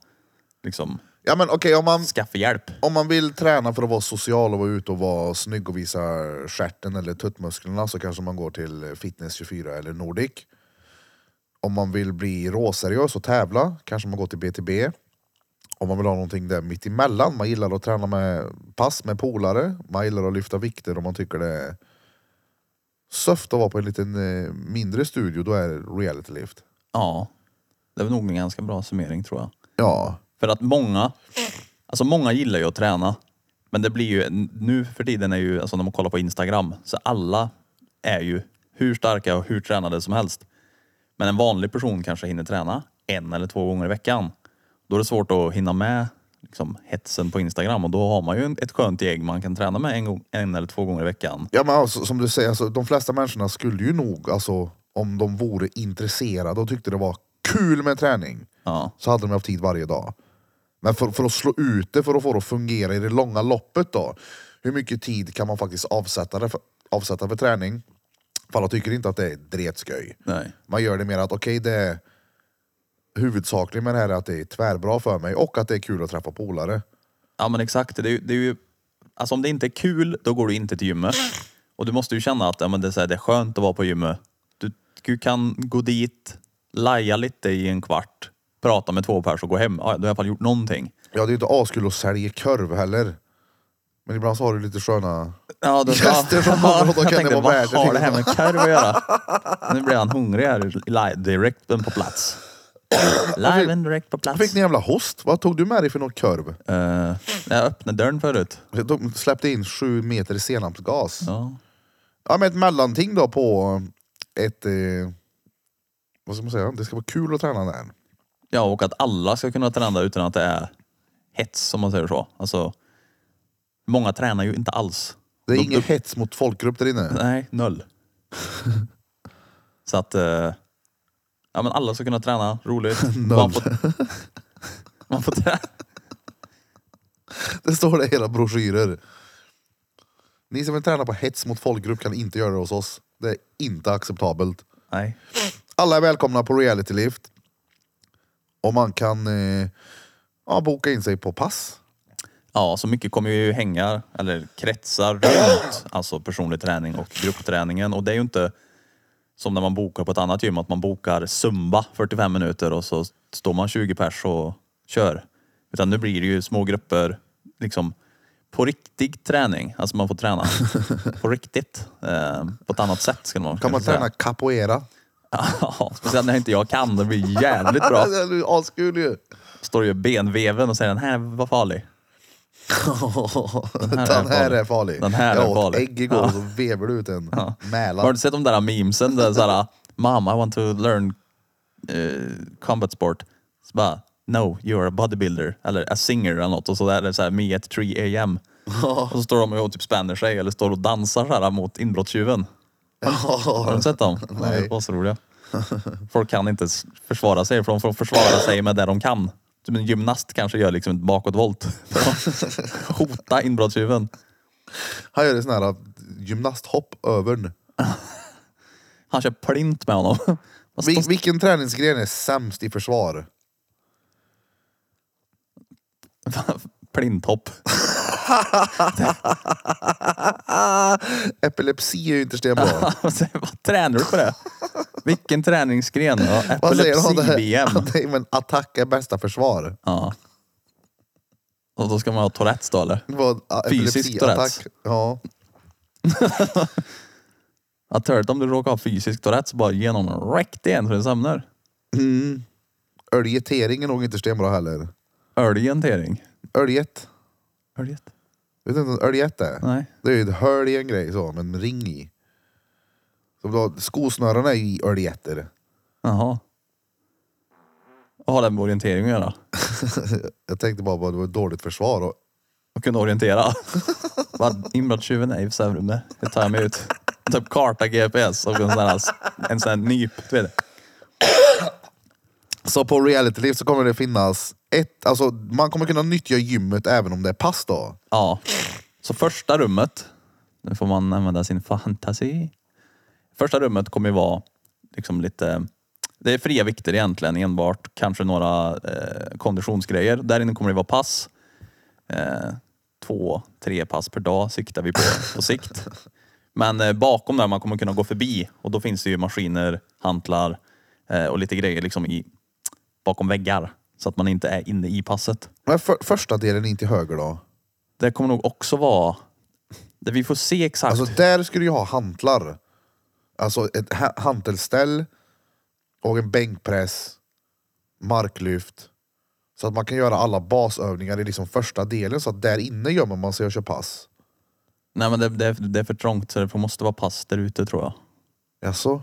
S1: liksom
S2: Ja men okej, om, man,
S1: skaffa hjälp.
S2: om man vill träna för att vara social och vara ute och vara snygg och visa stjärten eller tuttmusklerna så kanske man går till Fitness24 eller Nordic. Om man vill bli råseriös och tävla kanske man går till BTB. Om man vill ha någonting där mitt emellan. Man gillar att träna med pass med polare. Man gillar att lyfta vikter om man tycker det är söft att vara på en liten eh, mindre studio. Då är det reality lift.
S1: Ja, det är väl nog en ganska bra summering tror jag.
S2: Ja,
S1: För att många, alltså många gillar ju att träna. Men det blir ju, nu för tiden är ju, alltså när man kollar på Instagram, så alla är ju hur starka och hur tränade som helst. Men en vanlig person kanske hinner träna en eller två gånger i veckan. Då är det svårt att hinna med liksom, hetsen på Instagram och då har man ju en- ett skönt gäng man kan träna med en, gång, en eller två gånger i veckan.
S2: Ja men alltså, som du säger, alltså, de flesta människorna skulle ju nog, alltså, om de vore intresserade och tyckte det var kul med träning,
S1: Ja,
S2: så hade de haft tid varje dag. Men för, för att slå ut det, för att få det att fungera i det långa loppet då, hur mycket tid kan man faktiskt avsätta, det för, avsätta för träning? För alla tycker inte att det är dretsköj.
S1: nej.
S2: Man gör det mer att okej, det är huvudsakligen med det här är att det är tvärbra för mig och att det är kul att träffa polare.
S1: Ja men exakt. Det är, ju- det är ju, alltså om det inte är kul, då går du inte till gymmet. Och du måste ju känna att ja, men det, är så här, det är skönt att vara på gymmet. Du, du kan gå dit, laja lite i en kvart, prata med två pers och gå hem. Ja, du har i alla fall gjort någonting.
S2: Ja, det är ju inte askul att sälja korv heller. Men ibland så har du lite sköna
S1: Ja, då,
S2: Gäster som kommer och då
S1: jag
S2: kan det
S1: tänkte,
S2: vara
S1: vad
S2: värt det,
S1: har
S2: liksom.
S1: det här med korv att göra? Nu blir han hungrig här, live, direkt på plats. Live and direkt på plats.
S2: Jag fick en jävla host. Vad tog du med dig för någon korv?
S1: Eh, jag öppnade dörren förut.
S2: De släppte in sju meter senapsgas. Ja.
S1: Ja.
S2: men ett mellanting då på ett... Eh, vad ska man säga? Det ska vara kul att träna där.
S1: Ja, och att alla ska kunna träna utan att det är hets, om man säger så. Alltså, många tränar ju inte alls.
S2: Det är
S1: De-
S2: ingen hets mot folkgrupp där inne.
S1: Nej, noll. så att... eh, Ja, men alla ska kunna träna roligt. Man får, man får träna.
S2: Det står det i hela broschyrer. Ni som vill träna på hets mot folkgrupp kan inte göra det hos oss. Det är inte acceptabelt.
S1: Nej.
S2: Alla är välkomna på Reality Lift. Och man kan eh, ja, boka in sig på pass.
S1: Ja, så mycket kommer ju hänga, eller kretsar runt alltså personlig träning och gruppträningen. Och det är ju inte som när man bokar på ett annat gym, att man bokar Zumba 45 minuter och så står man 20 pers och kör. Utan nu blir det ju små grupper, liksom på riktig träning. Alltså man får träna på riktigt. Eh, på ett annat sätt skulle man
S2: Kan man
S1: kanske säga.
S2: träna capoeira?
S1: Ja, speciellt när inte jag kan. Det blir jävligt bra.
S2: Det är ju askul ju!
S1: Står ju i benveven och säger den här var farlig.
S2: Den här, är, farlig.
S1: Den här
S2: jag
S1: är farlig.
S2: åt ägg igår och så vevade ut en mäla.
S1: Har du sett de där memesen? Där såhär, Mom, I want to learn eh, combat sport. Så bara, no, you're a bodybuilder. Eller a singer eller något. Och så där är det såhär, me at 3 am. Och så står de och typ spänner sig eller står och dansar så här mot inbrottstjuven. Har
S2: Ja.
S1: du sett dem? De är
S2: Nej.
S1: asroliga. Folk kan inte s- försvara sig för de får försvara sig med det de kan. Typ en gymnast kanske gör liksom ett bakåtvolt. för att Hota inbrottstjuven.
S2: Han gör en sån här gymnasthopp över nu.
S1: Han kör plint med honom. Och
S2: Vil-
S1: stå-
S2: vilken träningsgren är sämst i försvar?
S1: Plinthopp.
S2: Epilepsi är ju inte stenbra.
S1: Vad tränar du på det? Vilken träningsgren? Ja,
S2: Vad säger han? Det här-
S1: Epilepsi-VM.
S2: Nej men attack är bästa försvar.
S1: Ja. Och då ska man ha Tourettes då eller?
S2: Det var en a-
S1: Fysisk
S2: epilepsiattack.
S1: Tourettes.
S2: Ja.
S1: Att törligt om du råkar ha fysisk Tourettes så bara ge någon räckt igen så den somnar.
S2: Öljetering är nog inte stenbra heller.
S1: Ölgentering.
S2: Öljet.
S1: Ölget?
S2: Vet du inte vad en öljet är?
S1: Nej.
S2: Det är ju ett hål i en grej så, med en ring i. Så då, skosnörena är ju i öljetter.
S1: Jaha. Vad har det med orientering att göra?
S2: Jag tänkte bara på att det var ett dåligt försvar. Och,
S1: Att kunna orientera? Vad, Inbrottstjuven är i Sävrumme. Det tar jag mig ut. Typ karta GPS och en sån här, en sån här nyp. Du vet.
S2: så på realityliv så kommer det finnas ett, alltså man kommer kunna nyttja gymmet även om det är pass då.
S1: Ja. Så första rummet, nu får man använda sin fantasi. Första rummet kommer ju vara liksom lite, det är fria vikter egentligen enbart, kanske några eh, konditionsgrejer. Där inne kommer det vara pass. Eh, två, tre pass per dag siktar vi på på sikt. Men eh, bakom där man kommer kunna gå förbi och då finns det ju maskiner, hantlar eh, och lite grejer liksom i, bakom väggar så att man inte är inne i passet.
S2: Men för, första delen in till höger då.
S1: Det kommer nog också vara... Det vi får se exakt.
S2: Alltså där skulle jag ha hantlar. Alltså ett ha- hantelställ och en bänkpress, marklyft. Så att man kan göra alla basövningar i liksom första delen så att där inne gömmer man sig och kör pass.
S1: Nej men det, det, det är för trångt så det måste vara pass där ute tror jag.
S2: Jaså?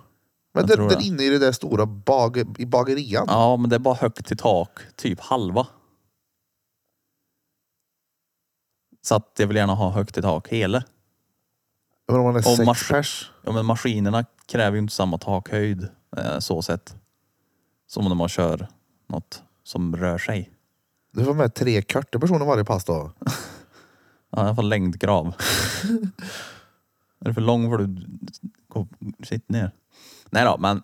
S2: Men
S1: Jag
S2: där,
S1: tror
S2: där
S1: det.
S2: inne i det där stora bage, i bagerian?
S1: Ja men det är bara högt i tak, typ halva. Så att jag vill gärna ha högt i tak hela.
S2: Men om man är sex
S1: mas-
S2: pers?
S1: Ja, men maskinerna kräver ju inte samma takhöjd eh, så sett. Som när man kör något som rör sig.
S2: Du får med tre korta personer varje pass då.
S1: Ja, I alla fall längdkrav. är du för lång får du gå, sitt ner. Nej då, men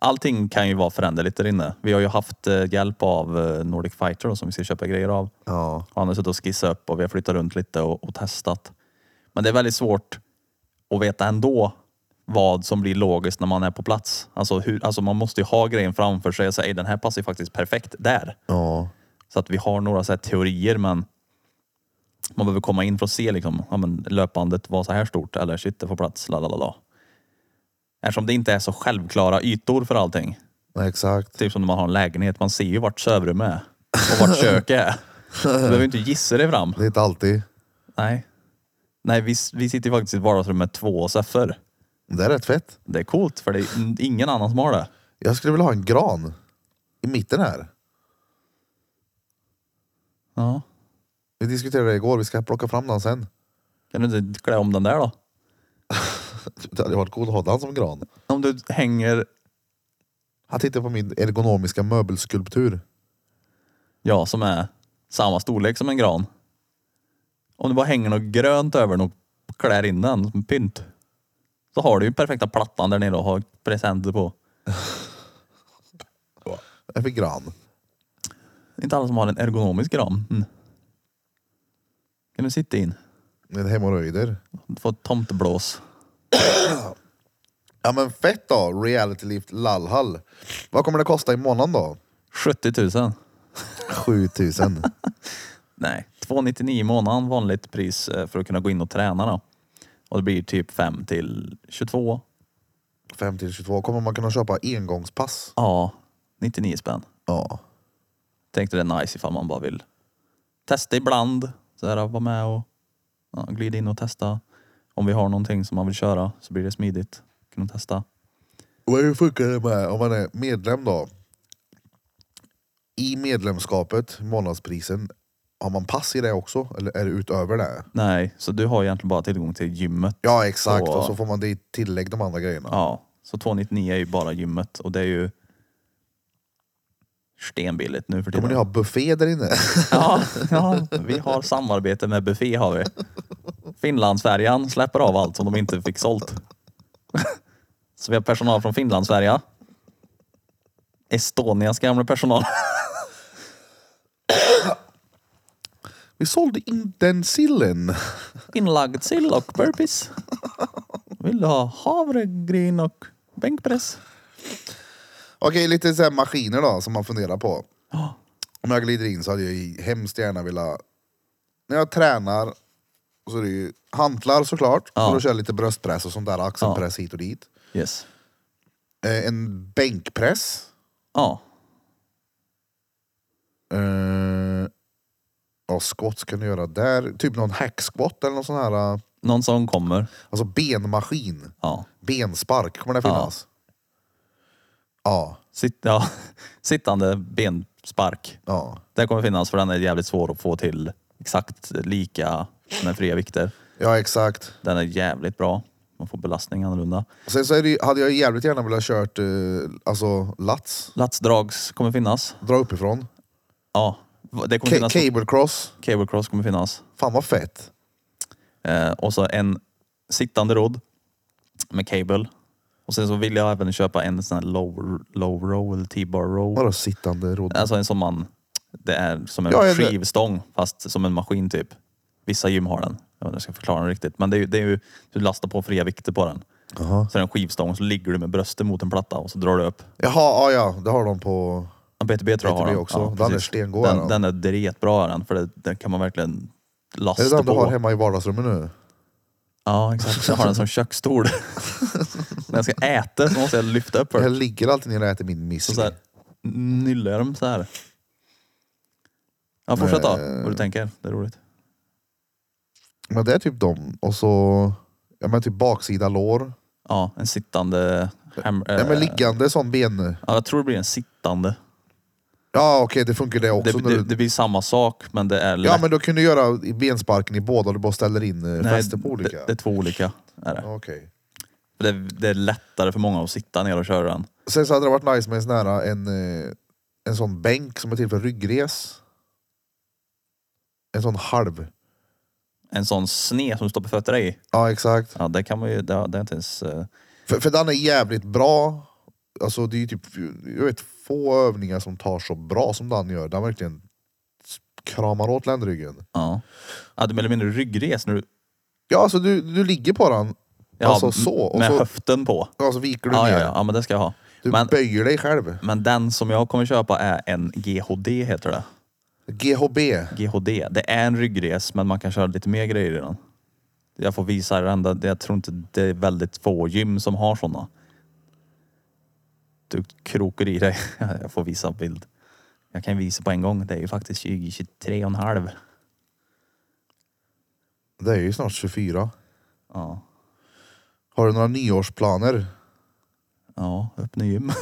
S1: allting kan ju vara föränderligt där inne. Vi har ju haft eh, hjälp av eh, Nordic Fighter då, som vi ska köpa grejer av.
S2: Ja.
S1: Han har suttit och skissat upp och vi har flyttat runt lite och, och testat. Men det är väldigt svårt att veta ändå vad som blir logiskt när man är på plats. Alltså, hur, alltså man måste ju ha grejen framför sig och säga "Ey, den här passar ju faktiskt perfekt där.
S2: Ja.
S1: Så att vi har några så här teorier men man behöver komma in för att se liksom, ja, men löpandet var så här stort eller shit det får plats, la la la la. Eftersom det inte är så självklara ytor för allting.
S2: Nej, exakt.
S1: Typ som när man har en lägenhet, man ser ju vart sovrummet är och vart köket är. Du behöver ju inte gissa dig fram.
S2: Det är inte alltid.
S1: Nej. Nej, vi, vi sitter ju faktiskt i ett vardagsrum med två soffor.
S2: Det är rätt fett.
S1: Det är coolt för det är ingen annan som har det.
S2: Jag skulle vilja ha en gran i mitten här.
S1: Ja.
S2: Vi diskuterade det igår, vi ska plocka fram den sen.
S1: Kan du inte klä om den där då?
S2: Det hade varit coolt att ha den som gran.
S1: Om du hänger,
S2: Han tittar på min ergonomiska möbelskulptur.
S1: ja som är samma storlek som en gran. Om du bara hänger något grönt över den och klär in den som pynt. Så har du ju perfekta plattan där nere och har presenter på.
S2: Jag fick gran.
S1: Det är inte alla som har en ergonomisk gran. Mm. Kan du sitta in?
S2: Med hemorrojder.
S1: Få ett tomteblås.
S2: Ja men fett då, reality lift lallhall. Vad kommer det kosta i månaden då?
S1: 70 000.
S2: 7000.
S1: Nej, 299 i månaden vanligt pris eh, för att kunna gå in och träna då. Och det blir typ 5 till 22.
S2: 5 till 22. Kommer man kunna köpa engångspass?
S1: Ja, 99 spänn.
S2: Ja.
S1: Tänkte det är nice ifall man bara vill testa ibland. Så här, vara med och ja, glida in och testa. Om vi har någonting som man vill köra så blir det smidigt. Kunna testa.
S2: Och hur funkar det med om man är medlem då? I medlemskapet, månadsprisen, har man pass i det också? Eller är det utöver det?
S1: Nej, så du har egentligen bara tillgång till gymmet.
S2: Ja exakt,
S1: Så-
S2: och så får man det i tillägg de andra grejerna.
S1: Ja, så 299 är ju bara gymmet och det är ju stenbilligt nu för tiden.
S2: Kommer ni ha buffé där inne?
S1: Ja, ja, vi har samarbete med Buffé har vi. Finlandsfärjan släpper av allt som de inte fick sålt. Så vi har personal från Finlandsfärja. Estonias gamla personal.
S2: Vi sålde in den sillen.
S1: Inlagd sill och burpees. Vill du ha havregryn och bänkpress?
S2: Okej, lite så här maskiner då som man funderar på.
S1: Ja.
S2: Om jag glider in så hade jag ju hemskt gärna velat... När jag tränar så är det ju hantlar såklart.
S1: Ja.
S2: För att köra lite bröstpress och sånt där. Axelpress hit och dit.
S1: Yes.
S2: Eh, en bänkpress.
S1: Ja.
S2: Eh, ja, skott ska ni göra där. Typ någon hackskott eller någon sån här... eh,
S1: Någon som kommer.
S2: Alltså benmaskin.
S1: Ja.
S2: Benspark kommer det
S1: Ja.
S2: finnas. Ja.
S1: Sitt, ja. Sittande benspark.
S2: ja.
S1: Det kommer finnas för den är jävligt svår att få till exakt lika med fria vikter.
S2: Ja, exakt.
S1: Den är jävligt bra. Man får belastning annorlunda.
S2: Sen så är det, ju- hade jag jävligt gärna velat kört eh, alltså lats.
S1: Latsdrags kommer finnas.
S2: Dra uppifrån.
S1: Ja, det kommer
S2: Ca-
S1: finnas.
S2: cable cross.
S1: Cable cross kommer finnas.
S2: Fan vad fett.
S1: Eh, och så en sittande rodd med cable. Och sen så vill jag även köpa en sån här low, low row eller T-bar row.
S2: Vadå sittande rodd?
S1: Alltså en som man, det är som en
S2: Ja, jag vet.
S1: skivstång fast som en maskin typ. Vissa gym har den. Jag vet inte om jag ska förklara den riktigt. Men det är ju, det är ju du lastar på fria vikter på den.
S2: Jaha.
S1: Så är det en skivstång och så ligger du med bröstet mot en platta och så drar du upp.
S2: Jaha, ah, ja, ja. Det har de på...
S1: Ja, BTB tror jag har
S2: BTB
S1: den.
S2: också.
S1: Ja,
S2: Den
S1: precis.
S2: är stengod, är
S1: den,
S2: den.
S1: den är dretbra är den, för det, den kan man verkligen lasta
S2: Är det den du
S1: på.
S2: har hemma i vardagsrummet nu?
S1: Ja, exakt. Jag har den som köksstol. När jag ska äta så måste jag lyfta upp
S2: Jag
S1: den.
S2: ligger alltid ner och äter min
S1: Så,
S2: müsli.
S1: så här, nyllar jag dem så här. Ja, fortsätt då.
S2: Eh.
S1: Vad du tänker. Det är roligt.
S2: Men det är typ de. Och så... Ja men typ baksida lår.
S1: Ja, en sittande... Hem,
S2: Nej men
S1: eh,
S2: liggande sån ben...
S1: ja, jag tror det blir en sittande.
S2: Ja okej det funkar det också.
S1: Det,
S2: när du-
S1: det, det blir samma sak, men det är lätt.
S2: ja men då kan du göra i bensparken i båda. Du bara ställer in
S1: Nej,
S2: eh, fäste på olika.
S1: Det, det är två olika. Är det.
S2: Ja, Okej.
S1: För Det, det är lättare för många att sitta ner och köra den.
S2: Sen så hade det varit nice med en sån här, en, eh, en sån bänk som är till för ryggres. En sån halv.
S1: En sån sne som du stoppar fötterna i.
S2: Ja exakt.
S1: Ja, det kan man ju, det, det är inte ens... eh,
S2: För, för den är jävligt bra. Alltså det är ju typ, jag vet få övningar som tar så bra som den gör. Den verkligen kramar åt ländryggen.
S1: Ja. ja du menar mindre ryggres när du...
S2: Ja alltså du, du ligger på den.
S1: Ja,
S2: alltså så. Och
S1: med
S2: så,
S1: höften på.
S2: ja, så viker du
S1: Ja,
S2: ner.
S1: ja, ja, ja, men det ska jag ha.
S2: Du
S1: Men,
S2: böjer dig själv.
S1: men den som jag kommer köpa är en GHD heter det.
S2: GHB.
S1: GHD. Det är en ryggres men man kan köra lite mer grejer i den. Jag får visa den. Det- Jag tror inte det är väldigt få gym som har sådana. Du krokar i dig. Jag får visa en bild. Jag kan visa på en gång. Det är ju faktiskt 2023 och en halv.
S2: Det är ju snart 24.
S1: Ja.
S2: Har du några nyårsplaner?
S1: Ja, öppna gym.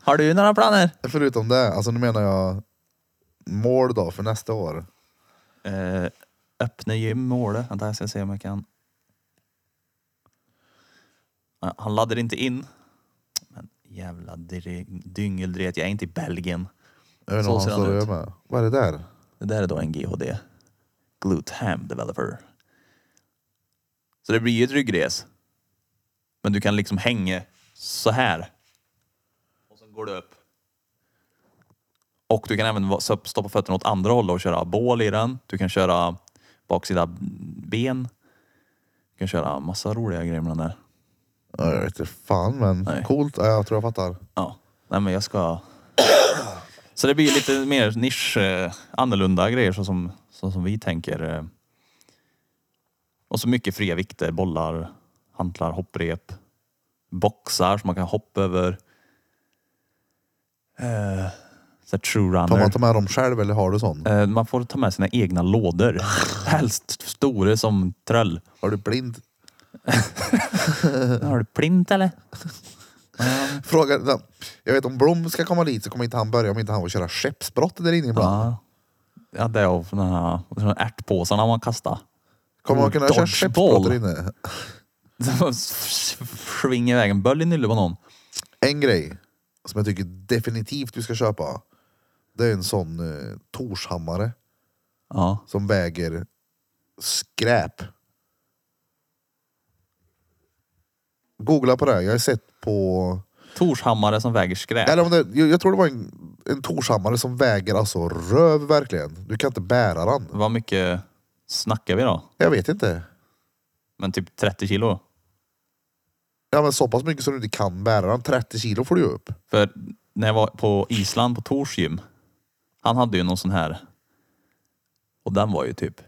S1: har du några planer?
S2: Förutom det, alltså nu menar jag mål då för nästa år.
S1: Eh, öppna gym målet. Vänta, jag ska se om jag kan. Ja, Han laddar inte in. Men jävla dre- dyngeldret, jag är inte i Belgien.
S2: Jag vet inte
S1: Så
S2: om han
S1: ser han
S2: står
S1: ut.
S2: och gör med. Vad är det där?
S1: Det där är då en GHD. Glute Ham Developer. Så det blir ju ett ryggres. Men du kan liksom hänga så här. Och sen går du upp. Och du kan även va- så- stoppa fötterna åt andra hållet och köra bål i den. Du kan köra baksida ben. Du kan köra massa roliga grejer med den där.
S2: Ja, Jag vet inte fan men
S1: Nej.
S2: coolt. Ja, jag tror jag fattar.
S1: Ja, nej men jag ska... Så det blir lite mer nisch, eh, annorlunda grejer så som, så som vi tänker. eh. Och så mycket fria vikter, bollar, hantlar, hopprep, boxar som man kan hoppa över. Eh, så här true
S2: Får man
S1: runner.
S2: ta med dem själv eller har du sån?
S1: Eh, man får ta med sina egna lådor. Helst stora som tröll.
S2: Har du blind?
S1: Har du plint eller?
S2: Fråga, jag vet om Blom ska komma dit så kommer inte han börja om inte han får köra skeppsbrott där inne ibland.
S1: Ja. Ja, det är av den här, de här ärtpåsarna man kastar.
S2: Kommer man kunna köra
S1: Dodgeball.
S2: chipspotter inne?
S1: Svinga iväg en böld i nyllet på någon.
S2: En grej som jag tycker definitivt du ska köpa. Det är en sån eh, Torshammare
S1: Ja.
S2: som väger skräp. Googla på det. här. Jag har sett på...
S1: Torshammare som väger skräp.
S2: Eller om det, jag, jag tror det var en, en Torshammare som väger alltså röv verkligen. Du kan inte bära den.
S1: Vad mycket snackar vi då?
S2: Jag vet inte.
S1: Men typ 30 kilo?
S2: Ja men så pass mycket som du inte kan bära den. 30 kilo får du ju upp.
S1: För när jag var på Island på Tors gym. Han hade ju någon sån här. Och den var ju typ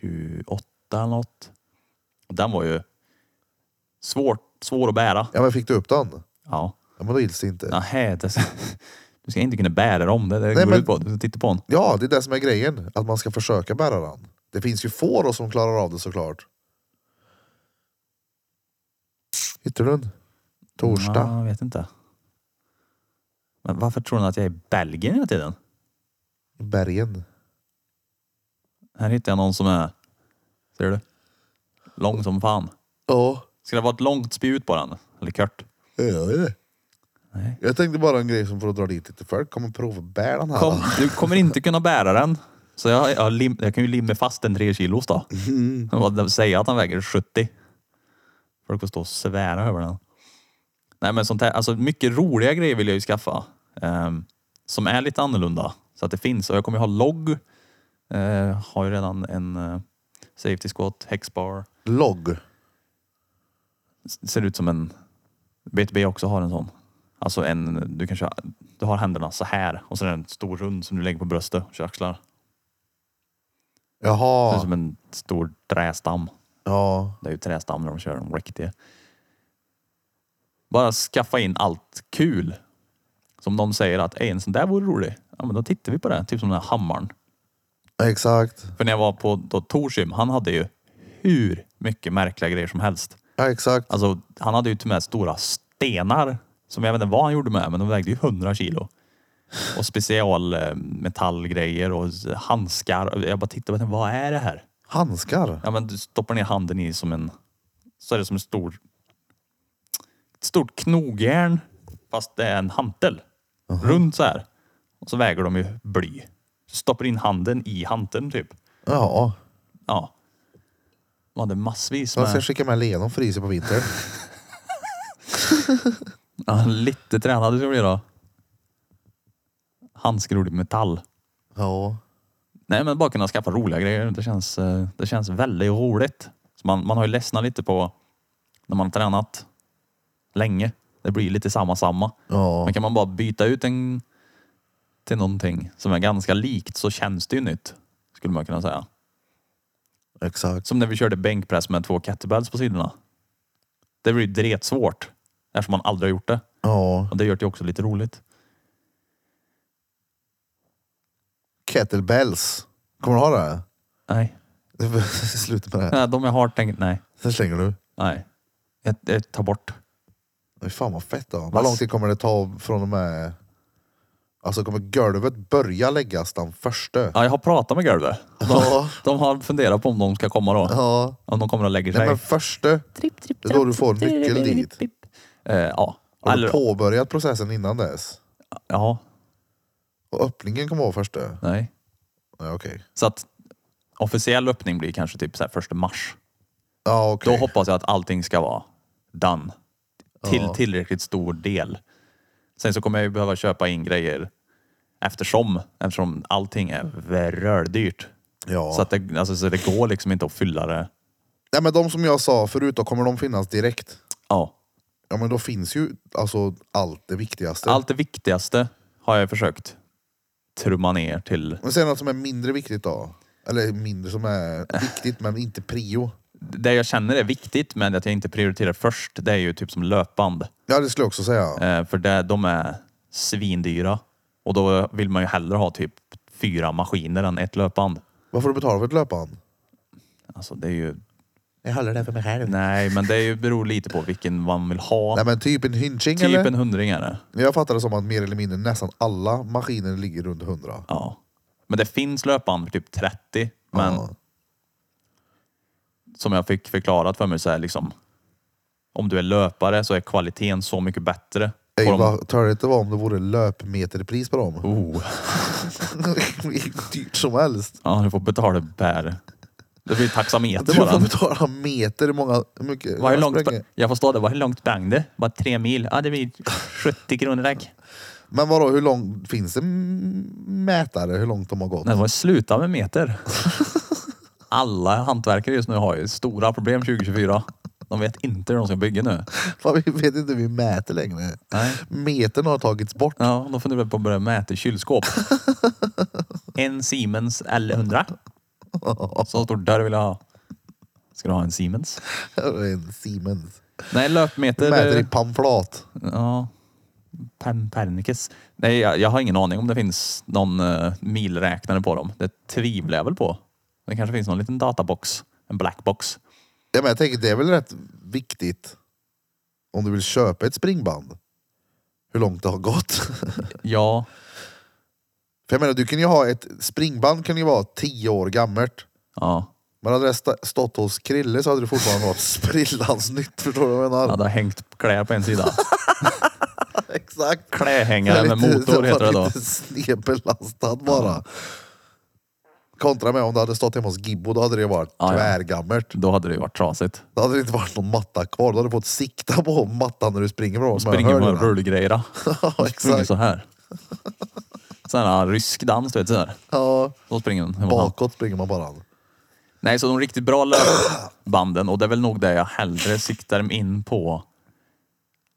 S1: 28 eller något. Och den var ju svår, svår att bära.
S2: Ja men fick du upp den?
S1: Ja.
S2: Ja men då gills det inte.
S1: Nähä, det, du ska inte kunna bära dem. Det, det går
S2: Nej, men-
S1: ut på. Du tittar på den.
S2: Ja, det är det som är grejen. Att man ska försöka bära den. Det finns ju får då som klarar av det såklart. Hittar du den? Torsdag.
S1: Ja, jag vet inte. Men varför tror ni att jag är i Belgien hela tiden?
S2: I Bergen.
S1: Här hittar jag någon som är... Ser du? Lång som fan.
S2: Ja,
S1: Ska det vara ett långt spjut på den? Eller kort?
S2: det gör det.
S1: Nej.
S2: Jag tänkte bara en grej som för att dra dit lite folk. Kommer prova att bära den här.
S1: Kom,
S2: då.
S1: du kommer inte kunna bära den. Så jag, jag, har lim, jag kan ju limma fast en tre kilos då. Mm. Säga att han väger 70. Folk får stå och svära över den. Nej men sånt här, alltså mycket roliga grejer vill jag ju skaffa. ehm, som är lite annorlunda. Så att det finns. Och jag kommer ju ha logg. Eh, har ju redan en eh, safety squat, hexbar.
S2: Logg.
S1: S- Ser ut som en... BTB också har en sån. Alltså en, du kan köra, du har händerna så här och så är det en stor rund som du lägger på bröstet och kör axlar. Det är
S2: Jaha.
S1: som en stor trästam.
S2: Ja.
S1: Det är ju trästam när de kör de riktiga. Bara skaffa in allt kul. Som de säger att "Ey, en sån där vore rolig. Ja men då tittar vi på det. Typ som den här hammaren.
S2: Exakt.
S1: För när jag var på då, Torsim, han hade ju hur mycket märkliga grejer som helst.
S2: Ja, exakt.
S1: Alltså han hade ju till och med stora stenar. Som jag vet inte vad han gjorde med men de vägde ju 100 kilo. Och specialmetallgrejer och handskar. Jag bara tittade på vad är det här?
S2: Handskar.
S1: Ja, men du stoppar ner handen i som en... Så är det som en stor... Ett stort knogjärn fast det är en hantel. Runt så här. Och så väger de ju bly. Så stoppar in handen i hanteln typ.
S2: Ja.
S1: Ja. De hade massvis
S2: Man ska
S1: med...
S2: skicka med Leon och fryser på vintern.
S1: Ja, lite tränade ska vi bli då. Handskar gjorda i metall.
S2: Ja.
S1: Nej men bara kunna skaffa roliga grejer. Det känns, eh, det känns väldigt roligt. Så man, man har ju ledsnat lite på när man har tränat länge. Det blir lite samma samma.
S2: Ja.
S1: Men kan man bara byta ut en till någonting som är ganska likt så känns det ju nytt. Skulle man kunna säga.
S2: Exakt.
S1: Som när vi körde bänkpress med två kettlebells på sidorna. Det blir ju dretsvårt. Eftersom man aldrig har gjort det.
S2: Ja.
S1: Och det gör det ju också lite roligt.
S2: Kettlebells. Kommer du ha det?
S1: Nej,
S2: Sluta med det här.
S1: nej de jag har tänkt, nej.
S2: Sen slänger du.
S1: Nej. Jag, jag tar bort.
S2: Fy fan vad fett då. Hur
S1: Vass.
S2: lång tid kommer det ta från och med... Alltså kommer golvet börja läggas den första?
S1: Ja, jag har pratat med Gerbe.
S2: Ja.
S1: De har funderat på om de ska komma då.
S2: Ja.
S1: Om de kommer och lägger sig.
S2: Nej men första. Det är då du får nyckel dit.
S1: Eh, ja.
S2: Har
S1: Eller-
S2: du påbörjat processen innan dess?
S1: ja,
S2: Och öppningen kommer vara första?
S1: nej.
S2: Ja okej.
S1: Så att officiell öppning blir kanske typ så här första mars.
S2: Ja
S1: Då
S2: okej.
S1: hoppas jag att allting ska vara done. Till
S2: Ja.
S1: tillräckligt stor del. Sen så kommer jag ju behöva köpa in grejer eftersom, eftersom allting är rördyrt.
S2: Ja.
S1: Så, att det, alltså, så det går liksom inte att fylla det.
S2: Nej men de som jag sa förut då, kommer de finnas direkt?
S1: Ja.
S2: Ja men då finns ju alltså allt det viktigaste.
S1: Allt det viktigaste har jag försökt trumma ner till
S2: Men sen något som är mindre viktigt då? Eller mindre som är viktigt men inte prio.
S1: det jag känner är viktigt men att jag inte prioriterar först det är ju typ som löpband.
S2: Ja det skulle jag också säga.
S1: Eh, för det, de är svindyra och då vill man ju hellre ha typ fyra maskiner än ett löpband.
S2: Vad får du betala för ett löpband?
S1: Alltså det är ju...
S2: Jag håller det för mig själv.
S1: Nej men det är ju, beror lite på vilken man vill ha.
S2: Nej men typ en hynching
S1: typ
S2: eller?
S1: en hundring är det.
S2: Jag fattar det som att mer eller mindre nästan alla maskiner ligger runt 100.
S1: Ja. Men det finns löpband för typ 30. Men
S2: Ja.
S1: som jag fick förklarat för mig så är liksom om du är löpare så är kvaliteten så mycket bättre. på
S2: Ey,
S1: de-
S2: vad törligt det var om det vore löpmeterpris på dem.
S1: Oh.
S2: Dyrt som helst.
S1: Ja, du får betala per... Det blir taxameter
S2: Du får
S1: bara.
S2: betala meter hur många... Hur mycket?
S1: Vad är
S2: jag
S1: långt,
S2: springer.
S1: jag får stå där. Vad är långt sprang du? Bara tre mil. Ja, det blir 70 kronor tack.
S2: Men vadå, hur långt finns det m- mätare? Hur långt de har gått?
S1: Nej, det var sluta med meter. Alla hantverkare just nu har ju stora problem 2024. De vet inte hur de ska bygga nu.
S2: Fan, vi vet inte hur vi mäter längre.
S1: Nej.
S2: Metern har tagits bort.
S1: Ja, de funderar på att börja mäta kylskåp. En Siemens L100. Så stor dörr vill jag ha. Ska du ha en Siemens?
S2: En Siemens.
S1: Nej, löpmeter...
S2: Mäter i pamflat.
S1: Ja. Pernicus. Nej, jag, jag har ingen aning om det finns någon eh, milräknare på dem. Det tvivlar jag väl på. Det kanske finns någon liten databox. En blackbox.
S2: Ja, men jag tänker det är väl rätt viktigt om du vill köpa ett springband. Hur långt det har gått.
S1: Ja,
S2: För jag menar, du kan ju ha ett springband kan ju vara tio år gammalt.
S1: ja.
S2: Men hade det sta- stått hos Krille så hade det fortfarande varit sprillans nytt. Förstår du vad jag menar?
S1: ja det har hängt kläder på en sida.
S2: Exakt.
S1: Klädhängare med motor heter det då.
S2: Lite snedbelastad bara. Kontra med om det hade stått hemma hos Gibbo, då hade det varit
S1: Ja, ja.
S2: tvärgammalt.
S1: Då hade det ju varit trasigt.
S2: Då hade det inte varit någon matta kvar. Då hade du fått sikta på mattan när du springer bra.
S1: Och springer med rullgrejer.
S2: Ja,
S1: Springer
S2: exakt.
S1: så här. Sån här rysk dans, du vet. Så här.
S2: Ja,
S1: Då springer den.
S2: bakåt springer man bara.
S1: Nej, så de riktigt bra löpbanden och det är väl nog det jag hellre siktar in på.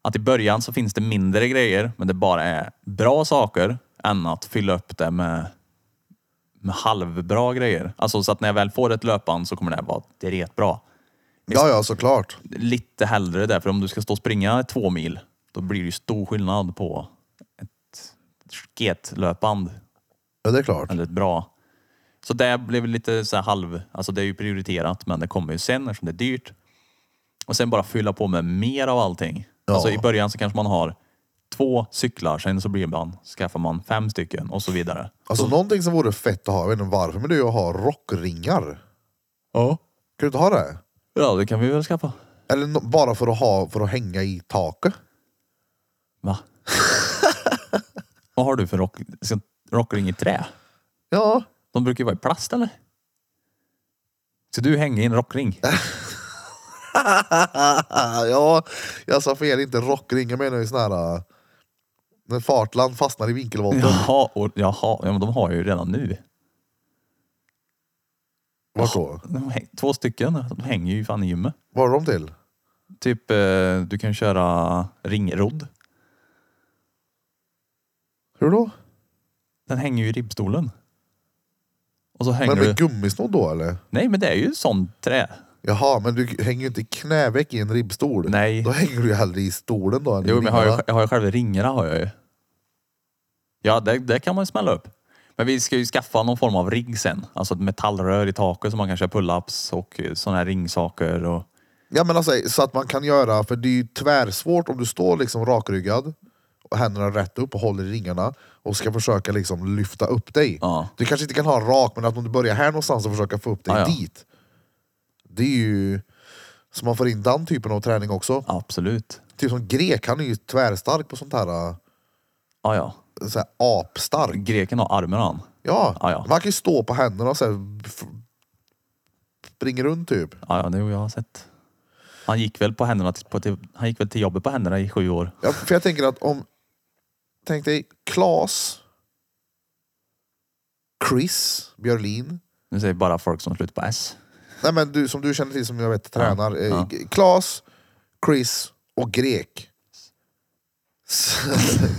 S1: Att i början så finns det mindre grejer, men det bara är bra saker än att fylla upp det med, med halvbra grejer. Alltså så att när jag väl får ett löpband så kommer det här vara direkt bra.
S2: Ja, ja, såklart.
S1: Lite hellre det, för om du ska stå och springa två mil, då blir det ju stor skillnad på ett sketlöpband
S2: Ja, det är klart.
S1: väldigt bra. Så det blev lite så här halv, alltså det är ju prioriterat men det kommer ju sen eftersom det är dyrt. Och sen bara fylla på med mer av allting.
S2: Ja.
S1: Alltså i början så kanske man har två cyklar, sen så blir man, skaffar man fem stycken och så vidare.
S2: Alltså någonting som vore fett att ha, jag vet inte varför, men det är ju att ha rockringar.
S1: Ja.
S2: Kan du inte ha det?
S1: Ja, det kan vi väl skaffa.
S2: Eller nå- bara för att, ha, för att hänga i taket.
S1: Va? Vad har du för rock, ska- rockring i trä?
S2: Ja,
S1: De brukar ju vara i plast eller? Så du hänger i en rockring?
S2: ja, jag sa fel. Inte rockring. Jag menar ju sån här... äh, När fartland fastnar i vinkelvolten.
S1: Jaha, och, jaha, ja, men de har ju redan nu.
S2: Vart då?
S1: De häng- Två stycken, de hänger ju fan i gymmet.
S2: Var är de till?
S1: Typ, eh, du kan köra ringrodd.
S2: Hur då?
S1: Den hänger ju i ribbstolen. Och så hänger
S2: Men
S1: du...
S2: med gummisnodd då eller?
S1: Nej, men det är ju sån trä.
S2: Jaha, men du hänger ju inte knäveck i en ribbstol.
S1: Nej.
S2: Då hänger du ju hellre i stolen då. än i
S1: Jo, men jag har ju,
S2: ringarna.
S1: jag har ju själva ringarna har jag ju. Ja, det, det kan man ju smälla upp. Men vi ska ju skaffa någon form av rigg sen. Alltså ett metallrör i taket som man kan köra pull-ups och sådana här ringsaker. Och...
S2: Ja men alltså så att man kan göra, för det är ju tvärsvårt om du står liksom rakryggad och händerna rätt upp och håller i ringarna och ska försöka liksom lyfta upp dig.
S1: Ja.
S2: Du kanske inte kan ha en rak men att om du börjar här någonstans och försöka få upp dig
S1: Ja, ja.
S2: dit. Det är ju... Så man får in den typen av träning också.
S1: Absolut.
S2: Typ som grek, han är ju tvärstark på sånt här, äh,
S1: Ja, ja.
S2: så här apstark.
S1: Greken har armen han.
S2: Ja.
S1: Ja, ja.
S2: man kan ju stå på händerna och så här, f- springa runt typ.
S1: Ja, ja, det har jag sett. Han gick väl på händerna till, på, till, han gick väl till jobbet på händerna i sju år.
S2: Ja, för jag tänker att om... Tänk dig Klas, Chris Björlin.
S1: Nu säger bara folk som slutar på S.
S2: Nej men du som du känner till som jag vet tränar. eh,
S1: ja.
S2: G- Klas, Chris och Grek. S-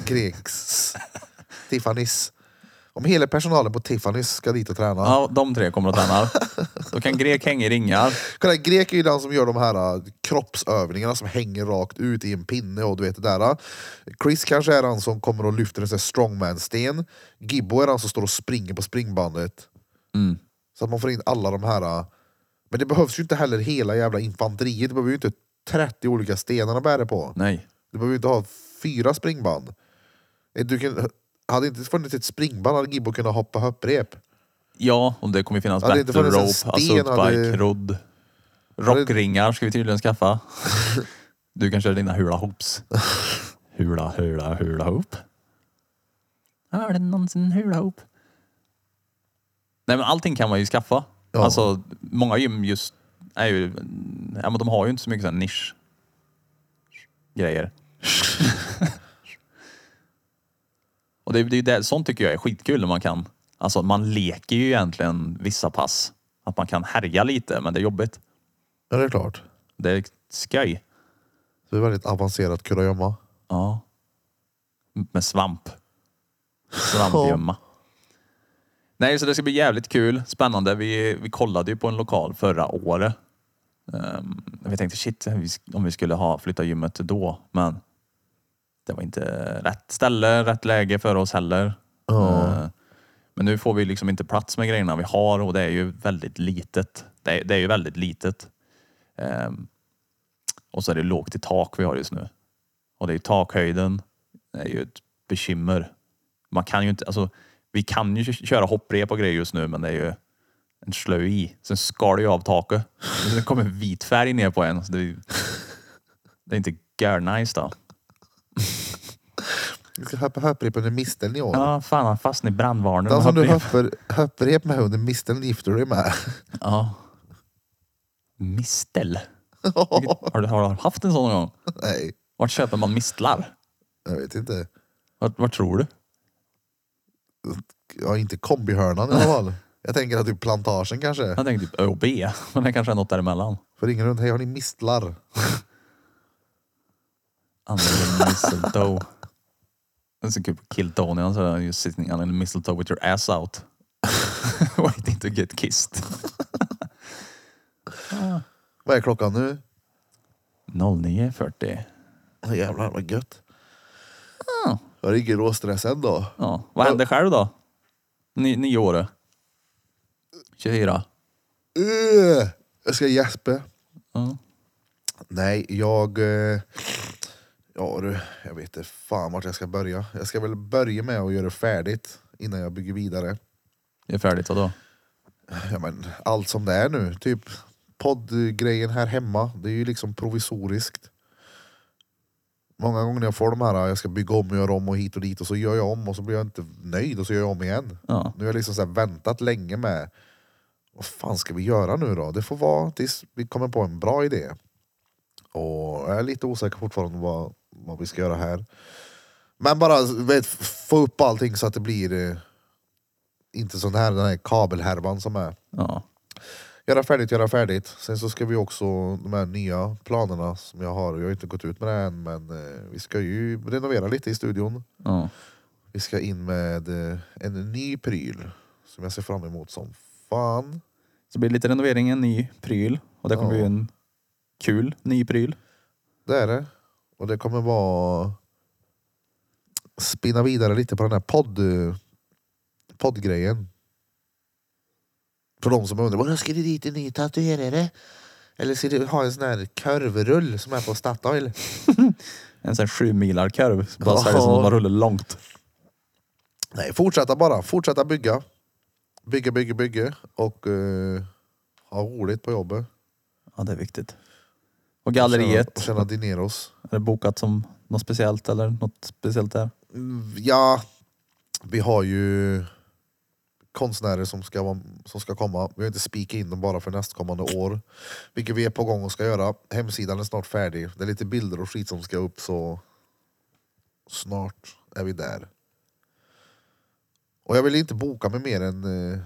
S2: Greks. Tiffany's. Om hela personalen på Tiffany's ska dit och träna.
S1: Ja, de tre kommer att träna. Då kan grek hänga i ringar.
S2: Kolla, grek är ju den som gör de här äh, kroppsövningarna som hänger rakt ut i en pinne och du vet det där. äh. Chris kanske är han som kommer och lyfter en sån här strongman-sten. Gibbo är han som står och springer på springbandet.
S1: Mm.
S2: Så att man får in alla de här. äh. Men det behövs ju inte heller hela jävla infanteriet. Du behöver ju inte 30 olika stenar att bära på.
S1: Nej.
S2: Du behöver ju inte ha fyra springband. Eh, Du kan, hade inte funnits ett springband hade Gibbo kunnat hoppa hopprep.
S1: Ja, och det kommer ju finnas
S2: Hade det inte
S1: battle rope,
S2: funnits en sten
S1: assault
S2: hade-
S1: bike, rodd. Rockringar ska vi tydligen skaffa. Du kan köra dina hula hoops. Hula, hula, hula hoop. Har du någonsin hula hoop? Nej men allting kan man ju skaffa.
S2: Ja.
S1: Alltså många gym just är ju, ja men de har ju inte så mycket sån nisch grejer. Och det, det, är ju det, sånt tycker jag är skitkul när man kan, alltså man leker ju egentligen vissa pass. Att man kan härja lite men det är jobbigt.
S2: Ja, det är klart.
S1: Det är skoj.
S2: Det är väldigt avancerat kurragömma.
S1: Ja. Med svamp. Svampgömma. Nej, så det ska bli jävligt kul. Spännande. Vi, vi kollade ju på en lokal förra året. Ehm, vi tänkte shit vi sk- om vi skulle ha flytta gymmet då. Men det var inte rätt ställe, rätt läge för oss heller.
S2: Ja.
S1: Ehm, men nu får vi liksom inte plats med grejerna vi har och det är ju väldigt litet. Det är, det är ju väldigt litet. Ehm, och så är det lågt i tak vi har just nu. Och det är takhöjden. Det är ju ett bekymmer. Man kan ju inte, alltså, vi kan ju kö- köra hopprep och grejer just nu, men det är ju en slö i. Sen skar det ju av taket. Och Sen kommer vit färg ner på en. Så det, är ju, det är inte görnice då.
S2: Du ska höppa höpprepen under misteln i år.
S1: Ja, fan han fastnade i brandvarnaren.
S2: Den
S1: med
S2: som du
S1: hopprep.
S2: höpper höpprep med under misteln gifter du dig med.
S1: Ja. Mistel. Vilket- Har du, har du haft en sån någon gång?
S2: Nej,
S1: Vart köper man mistlar?
S2: jag vet inte.
S1: Vart, vart tror du?
S2: Ja, inte kombihörnan i alla fall. Jag tänker att typ plantagen kanske.
S1: Jag tänkte typ Ö och B, men det kanske är något däremellan.
S2: För ingen runt, hej har ni mistlar?
S1: under the mistletoe. Den ser kul på Alltså, typ Kill Tony. Han sa just sitting under the mistletoe with your ass out. Waiting to get kissed.
S2: Vad är klockan nu?
S1: 09.40.
S2: Åh, Jävlar vad gött.
S1: Ah.
S2: Jag är ingen råstress än då.
S1: Ja. Vad hände själv då? Ny, nio år. 24.
S2: Eh, Jag ska gäspa.
S1: Ja.
S2: Nej, jag... eh, Ja du, jag vet inte fan vart jag ska börja. Jag ska väl börja med att göra det färdigt innan jag bygger vidare.
S1: Det är färdigt vadå?
S2: ja, men, allt som det är nu. Typ poddgrejen här hemma, det är ju liksom provisoriskt. Många gånger när jag får de här, "Ah, jag ska bygga om och göra om och hit och dit och så gör jag om och så blir jag inte nöjd och så gör jag om igen.
S1: Ja.
S2: Nu har jag liksom så här väntat länge med, vad fan ska vi göra nu då? Det får vara tills vi kommer på en bra idé. Och jag är lite osäker fortfarande vad, vad vi ska göra här. Men bara vet, få upp allting så att det blir eh, inte sån här, den här kabelhärvan som är
S1: Ja.
S2: göra färdigt, göra färdigt. Sen så ska vi också, de här nya planerna som jag har, jag har inte gått ut med det än men eh, vi ska ju renovera lite i studion.
S1: ja.
S2: Vi ska in med eh, en ny pryl som jag ser fram emot som fan.
S1: Så blir det lite renovering, en ny pryl. Och det kommer
S2: Ja.
S1: bli en kul ny pryl.
S2: Det är det. Och det kommer vara spinna vidare lite på den här podd eh, poddgrejen. För de som undrar, "Vadå, ska du dit en ny tatuerare? Eller ska du ha en sån här kurvrull som är på Statoil?
S1: En sån här sju milar kurv. Så Bara
S2: Ja.
S1: så här som man rullar långt.
S2: Nej, fortsätta bara. Fortsätta bygga. Bygga, bygga, bygga. Och eh, ha roligt på jobbet.
S1: Ja det är viktigt. Och
S2: Tjäna,
S1: galleriet.
S2: tjäna dineros.
S1: Är det bokat som något speciellt eller något speciellt där?
S2: Mm, Ja, vi har ju konstnärer som ska, vara, som ska komma. Vi har inte spikat in dem bara för nästkommande år. Vilket vi är på gång och ska göra. Hemsidan är snart färdig. Det är lite bilder och skit som ska upp så snart är vi där. Och jag vill inte boka med mer än eh,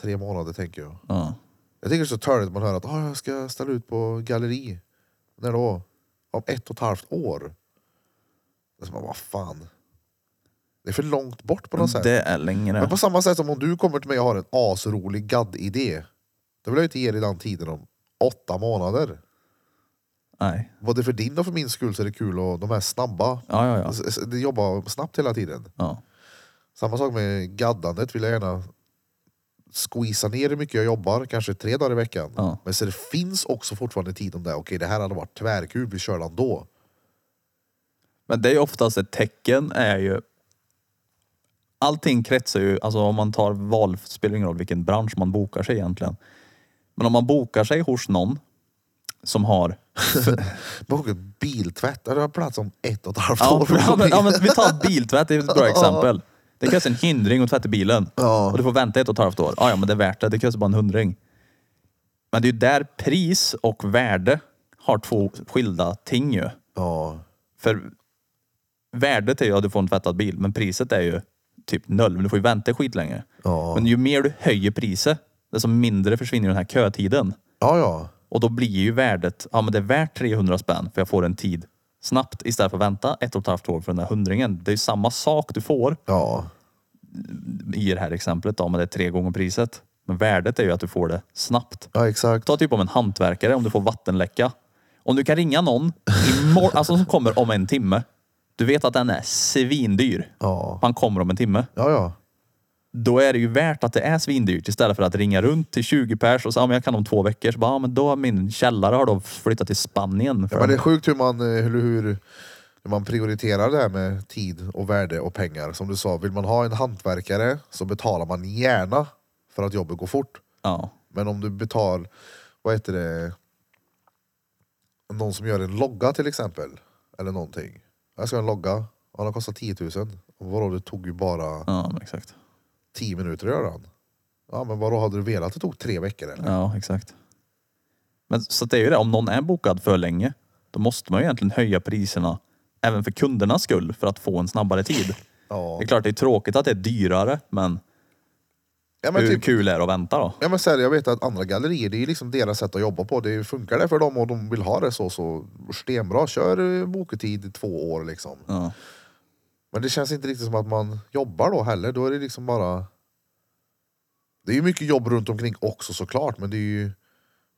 S2: tre månader tänker jag.
S1: Ja.
S2: Jag tycker det är så törligt att man hör att ah, jag ska ställa ut på galleri. När då? Om ett och ett halvt år. Det är som, vad fan. Det är för långt bort på något sätt.
S1: Det är längre.
S2: Men på samma sätt som om du kommer till mig och har en asrolig gadd-idé. Då vill jag ju inte ge dig den tiden om åtta månader.
S1: Nej.
S2: Både för din och för min skull så är det kul och de är snabba.
S1: Ja, ja, ja.
S2: S- s- De jobbar snabbt hela tiden.
S1: ja.
S2: Samma sak med gaddandet vill jag gärna squeeza ner hur mycket jag jobbar, kanske tre dagar i veckan.
S1: Ja.
S2: Men så det finns också fortfarande tid om det. Okej, det här hade varit tvärkul, vi kör den då.
S1: Men det är ju oftast ett tecken är ju allting kretsar ju, alltså om man tar val, spelar ingen roll vilken bransch man bokar sig egentligen. Men om man bokar sig hos någon som har
S2: Boka biltvätt. Det har plats om ett och ett halvt
S1: Ja,
S2: år.
S1: ja, men, ja, men vi tar biltvätt, det är ett bra exempel. Det krävs en hindring att tvätta bilen.
S2: Ja.
S1: Och du får vänta ett och ett halvt år. Ja, ja, men det är värt det. Det krävs bara en hundring. Men det är ju där pris och värde har två skilda ting ju.
S2: ja.
S1: För värdet är ju att du får en tvättad bil, men priset är ju typ noll. Men du får ju vänta skitlänge.
S2: Ja.
S1: Men ju mer du höjer priset, desto mindre försvinner den här kötiden.
S2: ja, ja.
S1: Och då blir ju värdet, ja men det är värt 300 spänn för jag får en tid snabbt istället för att vänta ett och ett halvt år för den här hundringen. Det är ju samma sak du får
S2: Ja,
S1: i det här exemplet då, men det är tre gånger priset. Men värdet är ju att du får det snabbt.
S2: ja exakt.
S1: Ta typ om en hantverkare, om du får vattenläcka. Om du kan ringa någon imorgon, alltså som kommer om en timme. Du vet att den är svindyr.
S2: Ja.
S1: Han kommer om en timme.
S2: Ja, ja.
S1: Då är det ju värt att det är svindyrt istället för att ringa runt till 20 pers och säga ja, men jag kan om två veckor. Så bara, ja, men då har min källare har då flyttat till Spanien. För
S2: Men det är sjukt hur man, eh, hur, hur, hur man prioriterar det här med tid och värde och pengar. Som du sa, vill man ha en hantverkare så betalar man gärna för att jobbet går fort.
S1: ja.
S2: Men om du betalar, vad heter det, någon som gör en logga till exempel. Eller någonting. Jag ska ha en logga, och den kostar 10 000. Och Vadå, det tog ju bara
S1: Ja, men exakt.
S2: 10 minuter att göra den. Ja men vadå, hade du velat det tog tre veckor eller?
S1: Ja, exakt. Men så att det är ju det, om någon är bokad för länge, då måste man ju egentligen höja priserna även för kundernas skull för att få en snabbare tid.
S2: Ja.
S1: Det är klart det är tråkigt att det är dyrare, men,
S2: Ja, men
S1: hur
S2: typ,
S1: kul är det att vänta då?
S2: Ja men så här, jag vet att andra gallerier, det är liksom deras sätt att jobba på. Det funkar det för dem och de vill ha det så, så stenbra. Kör eh, boketid i två år liksom.
S1: Ja.
S2: Men det känns inte riktigt som att man jobbar då heller. Då är det liksom bara... Det är ju mycket jobb runt omkring också såklart, men det är ju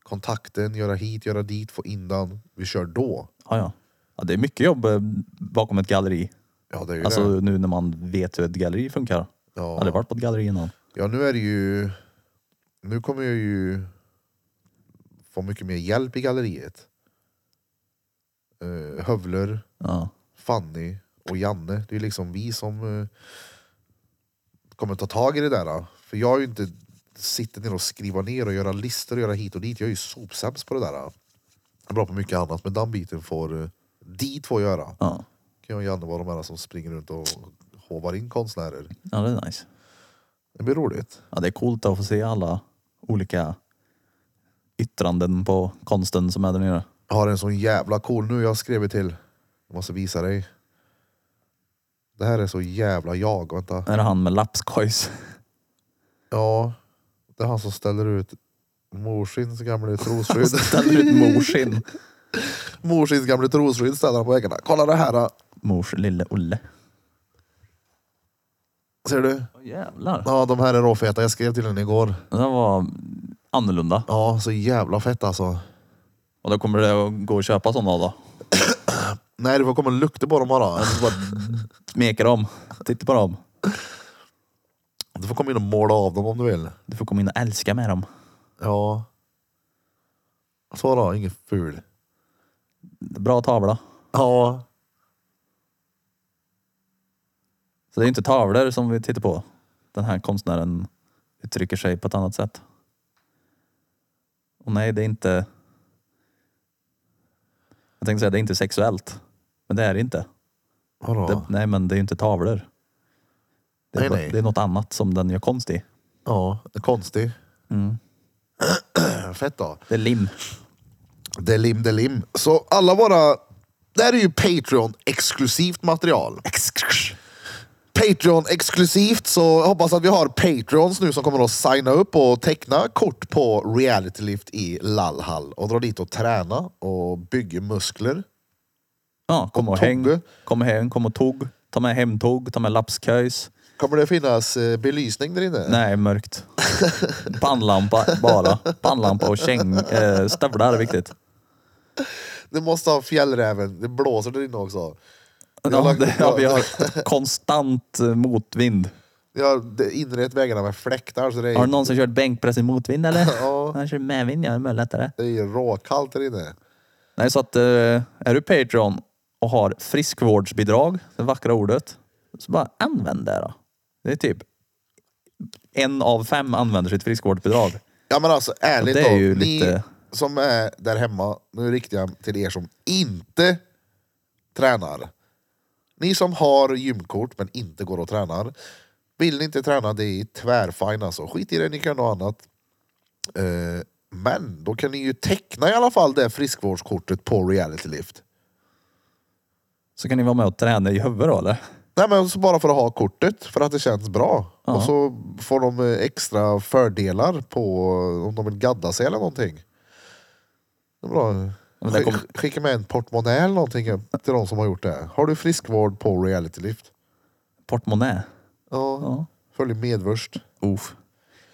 S2: kontakten, göra hit, göra dit, få in den. Vi kör då.
S1: Ja, ja. ja, det är mycket jobb eh, bakom ett galleri.
S2: Ja, det är ju
S1: Alltså
S2: det.
S1: nu när man vet hur ett galleri funkar. Jag har
S2: Ja.
S1: aldrig varit på ett galleri innan.
S2: ja, nu är det ju... Nu kommer jag ju få mycket mer hjälp i galleriet. Uh, hövler,
S1: Ja.
S2: Fanny och Janne. Det är liksom vi som eh, kommer ta tag i det där. eh. För jag är ju inte sitter ner och skriva ner och göra listor och göra hit och dit. Jag är ju sopsämst på det där. eh. Jag är bra på mycket annat men den biten får eh, de två göra.
S1: Ja.
S2: Kan jag och Janne vara de här som springer runt och hovar in konstnärer.
S1: ja, det är nice.
S2: Det blir roligt.
S1: Ja, det är coolt att få se alla olika yttranden på konsten som är där nere.
S2: Jag har en sån jävla cool nu jag skrev till. Jag måste visa dig. Det här är så jävla jag. Vänta.
S1: Är det han med lapskojs?
S2: Ja, det är han som ställer ut morsins gamla trosskydd.
S1: Ställer ut morsin.
S2: morsins gamla trosskydd ställer han på väggarna. Kolla det här! då.
S1: Mors lille Olle.
S2: Ser du?
S1: Jävlar.
S2: Ja, de här är råfeta. Jag skrev till den igår.
S1: Det här var annorlunda.
S2: Ja, så jävla fett alltså.
S1: Och då kommer det att gå och köpa sådana då.
S2: Nej, du får komma och lukta på dem bara.
S1: Så bara smeka dem. Titta på dem.
S2: Du får komma in och måla av dem om du vill.
S1: Du får komma in och älska med dem.
S2: Ja. Så då, ingen ful.
S1: Bra tavla.
S2: Ja.
S1: Så det är inte tavlor som vi tittar på. Den här konstnären uttrycker sig på ett annat sätt. Och nej, det är inte... Jag tänkte säga det är inte sexuellt. Men det är det inte.
S2: Vadå?
S1: Det, nej, men det är ju inte tavlor. Det är,
S2: Nej, nej.
S1: det är något annat som den gör konst i.
S2: Ja, det är konstig. fett då.
S1: Det är lim.
S2: Delim Delim. Så alla våra... Det här är ju Patreon-exklusivt material. Patreon-exklusivt, så jag hoppas att vi har Patreons nu som kommer att signa upp och teckna kort på Reality Lift i Lallhall och dra dit och träna och bygga muskler.
S1: Ja, kom och,
S2: Och
S1: häng.
S2: togge.
S1: Kom och häng, kom och tog. Ta med hemtog, ta med lapsköjs.
S2: Kommer det finnas eh, belysning där inne?
S1: Nej, mörkt. Pannlampa bara. Pannlampa och käng. Eh, stövlar är viktigt.
S2: Det måste ha fjällräven. Det blåser där inne också. Jag har
S1: Ja,
S2: lagt-
S1: det, ja, vi har konstant eh, motvind.
S2: Jag har inrett väggarna med fläktar så det
S1: Har
S2: är,
S1: du någonsin kört bänkpress i motvind eller?
S2: Ja.
S1: Jag kör medvind, jag är mycket lättare.
S2: det är råkallt där inne.
S1: Nej, så att eh, är du Patreon och har friskvårdsbidrag, det vackra ordet, så bara använd det då. Det är typ en av fem använder sitt friskvårdsbidrag.
S2: Ja men alltså ärligt
S1: Det är
S2: då,
S1: ju
S2: ni
S1: lite-
S2: som är där hemma, nu riktar jag mig till er som inte tränar. Ni som har gymkort men inte går och tränar. Vill ni inte träna, det är tvärfine alltså. Skit i det, ni kan ha något annat. Eh, men då kan ni ju teckna i alla fall det friskvårdskortet på Reality Lift.
S1: Så kan ni vara med och träna i huvudet då eller?
S2: Nej men så bara för att ha kortet, för att det känns bra.
S1: Ja.
S2: Och så får de eh, extra fördelar på om de vill gadda sig eller någonting. Det är bra.
S1: men det
S2: Skick-
S1: kom-
S2: Skicka med en portmonnä eller någonting upp till de som har gjort det. Har du friskvård på Reality Lift?
S1: Portmonnä.
S2: Ja.
S1: Ja.
S2: Följ medvörst.
S1: Uff.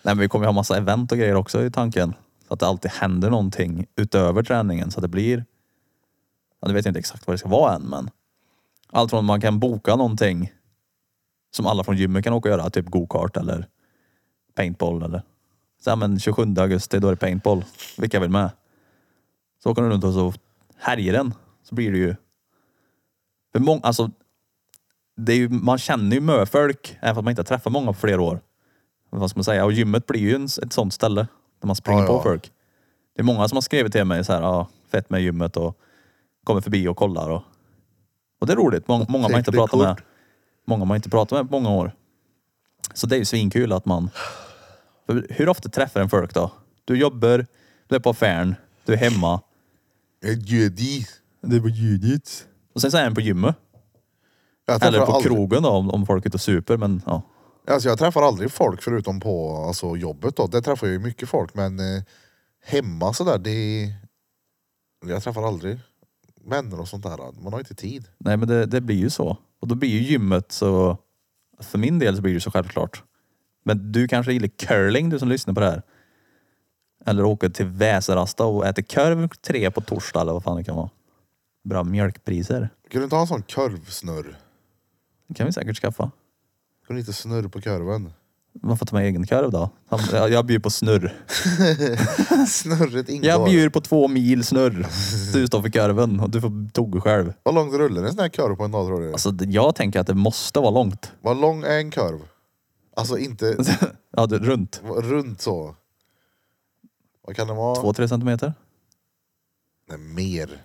S1: Nej, men vi kommer ju ha massa event och grejer också i tanken. Så att det alltid händer någonting utöver träningen. Så att det blir... Ja, nu vet jag inte exakt vad det ska vara än, men... Allt från man kan boka någonting som alla från gymmet kan åka och göra. Typ go-kart eller paintball eller... Så, ja, men 27 augusti, då är det paintball. Vilka vill med? Så åker de runt och så härjer den. Så blir det ju... För många, alltså, det är ju, man känner ju möfolk, även om man inte har träffat många på flera år. Vad ska man säga? Och gymmet blir ju en, ett sånt ställe där man springer
S2: Ja, ja.
S1: på folk. Det är många som har skrivit till mig så här, ja, fett med gymmet och kommer förbi och kollar. Och, och det är roligt. Mång, många man inte
S2: Tänkte
S1: pratar med.
S2: kort.
S1: Många man inte pratar med på många år. Så det är ju svinkul att man... För hur ofta träffar en folk då? Du jobbar, du är på affären, du är hemma.
S2: En gödi.
S1: Det var ljudet. Och sen så är en på gymmet.
S2: Jag träffar,
S1: Eller på
S2: aldrig,
S1: krogen då om, om folk är ute och super. Men ja.
S2: alltså jag träffar aldrig folk förutom på alltså, jobbet. Då. Där träffar jag ju mycket folk men eh, hemma sådär, det... Jag träffar aldrig vänner och sånt där. Man har inte tid.
S1: Nej men det, det blir ju så. Och då blir ju gymmet så... För min del så blir det så självklart. Men du kanske gillar curling du som lyssnar på det här. Eller åker till Väserasta och äter korv tre på torsdag eller vad fan det kan vara. Bra mjölkpriser.
S2: Kan du inte ha en sån kurvsnurr?
S1: Det kan vi säkert skaffa.
S2: Kan du inte snurra på kurven?
S1: Man får ta med egen korv då. Han- Jag, jag bjuder på snurr.
S2: Snurret ingår.
S1: Jag bjuder på två mil snurr. Du står för korven och du får tog själv.
S2: Vad långt rullar en sån här kurv på en dag tror du?
S1: Alltså det- jag tänker att det måste vara långt.
S2: Vad lång är en kurv? Alltså inte
S1: Ja, det, runt.
S2: vad- runt så. Vad kan det vara?
S1: Två, tre centimeter.
S2: Nej, mer.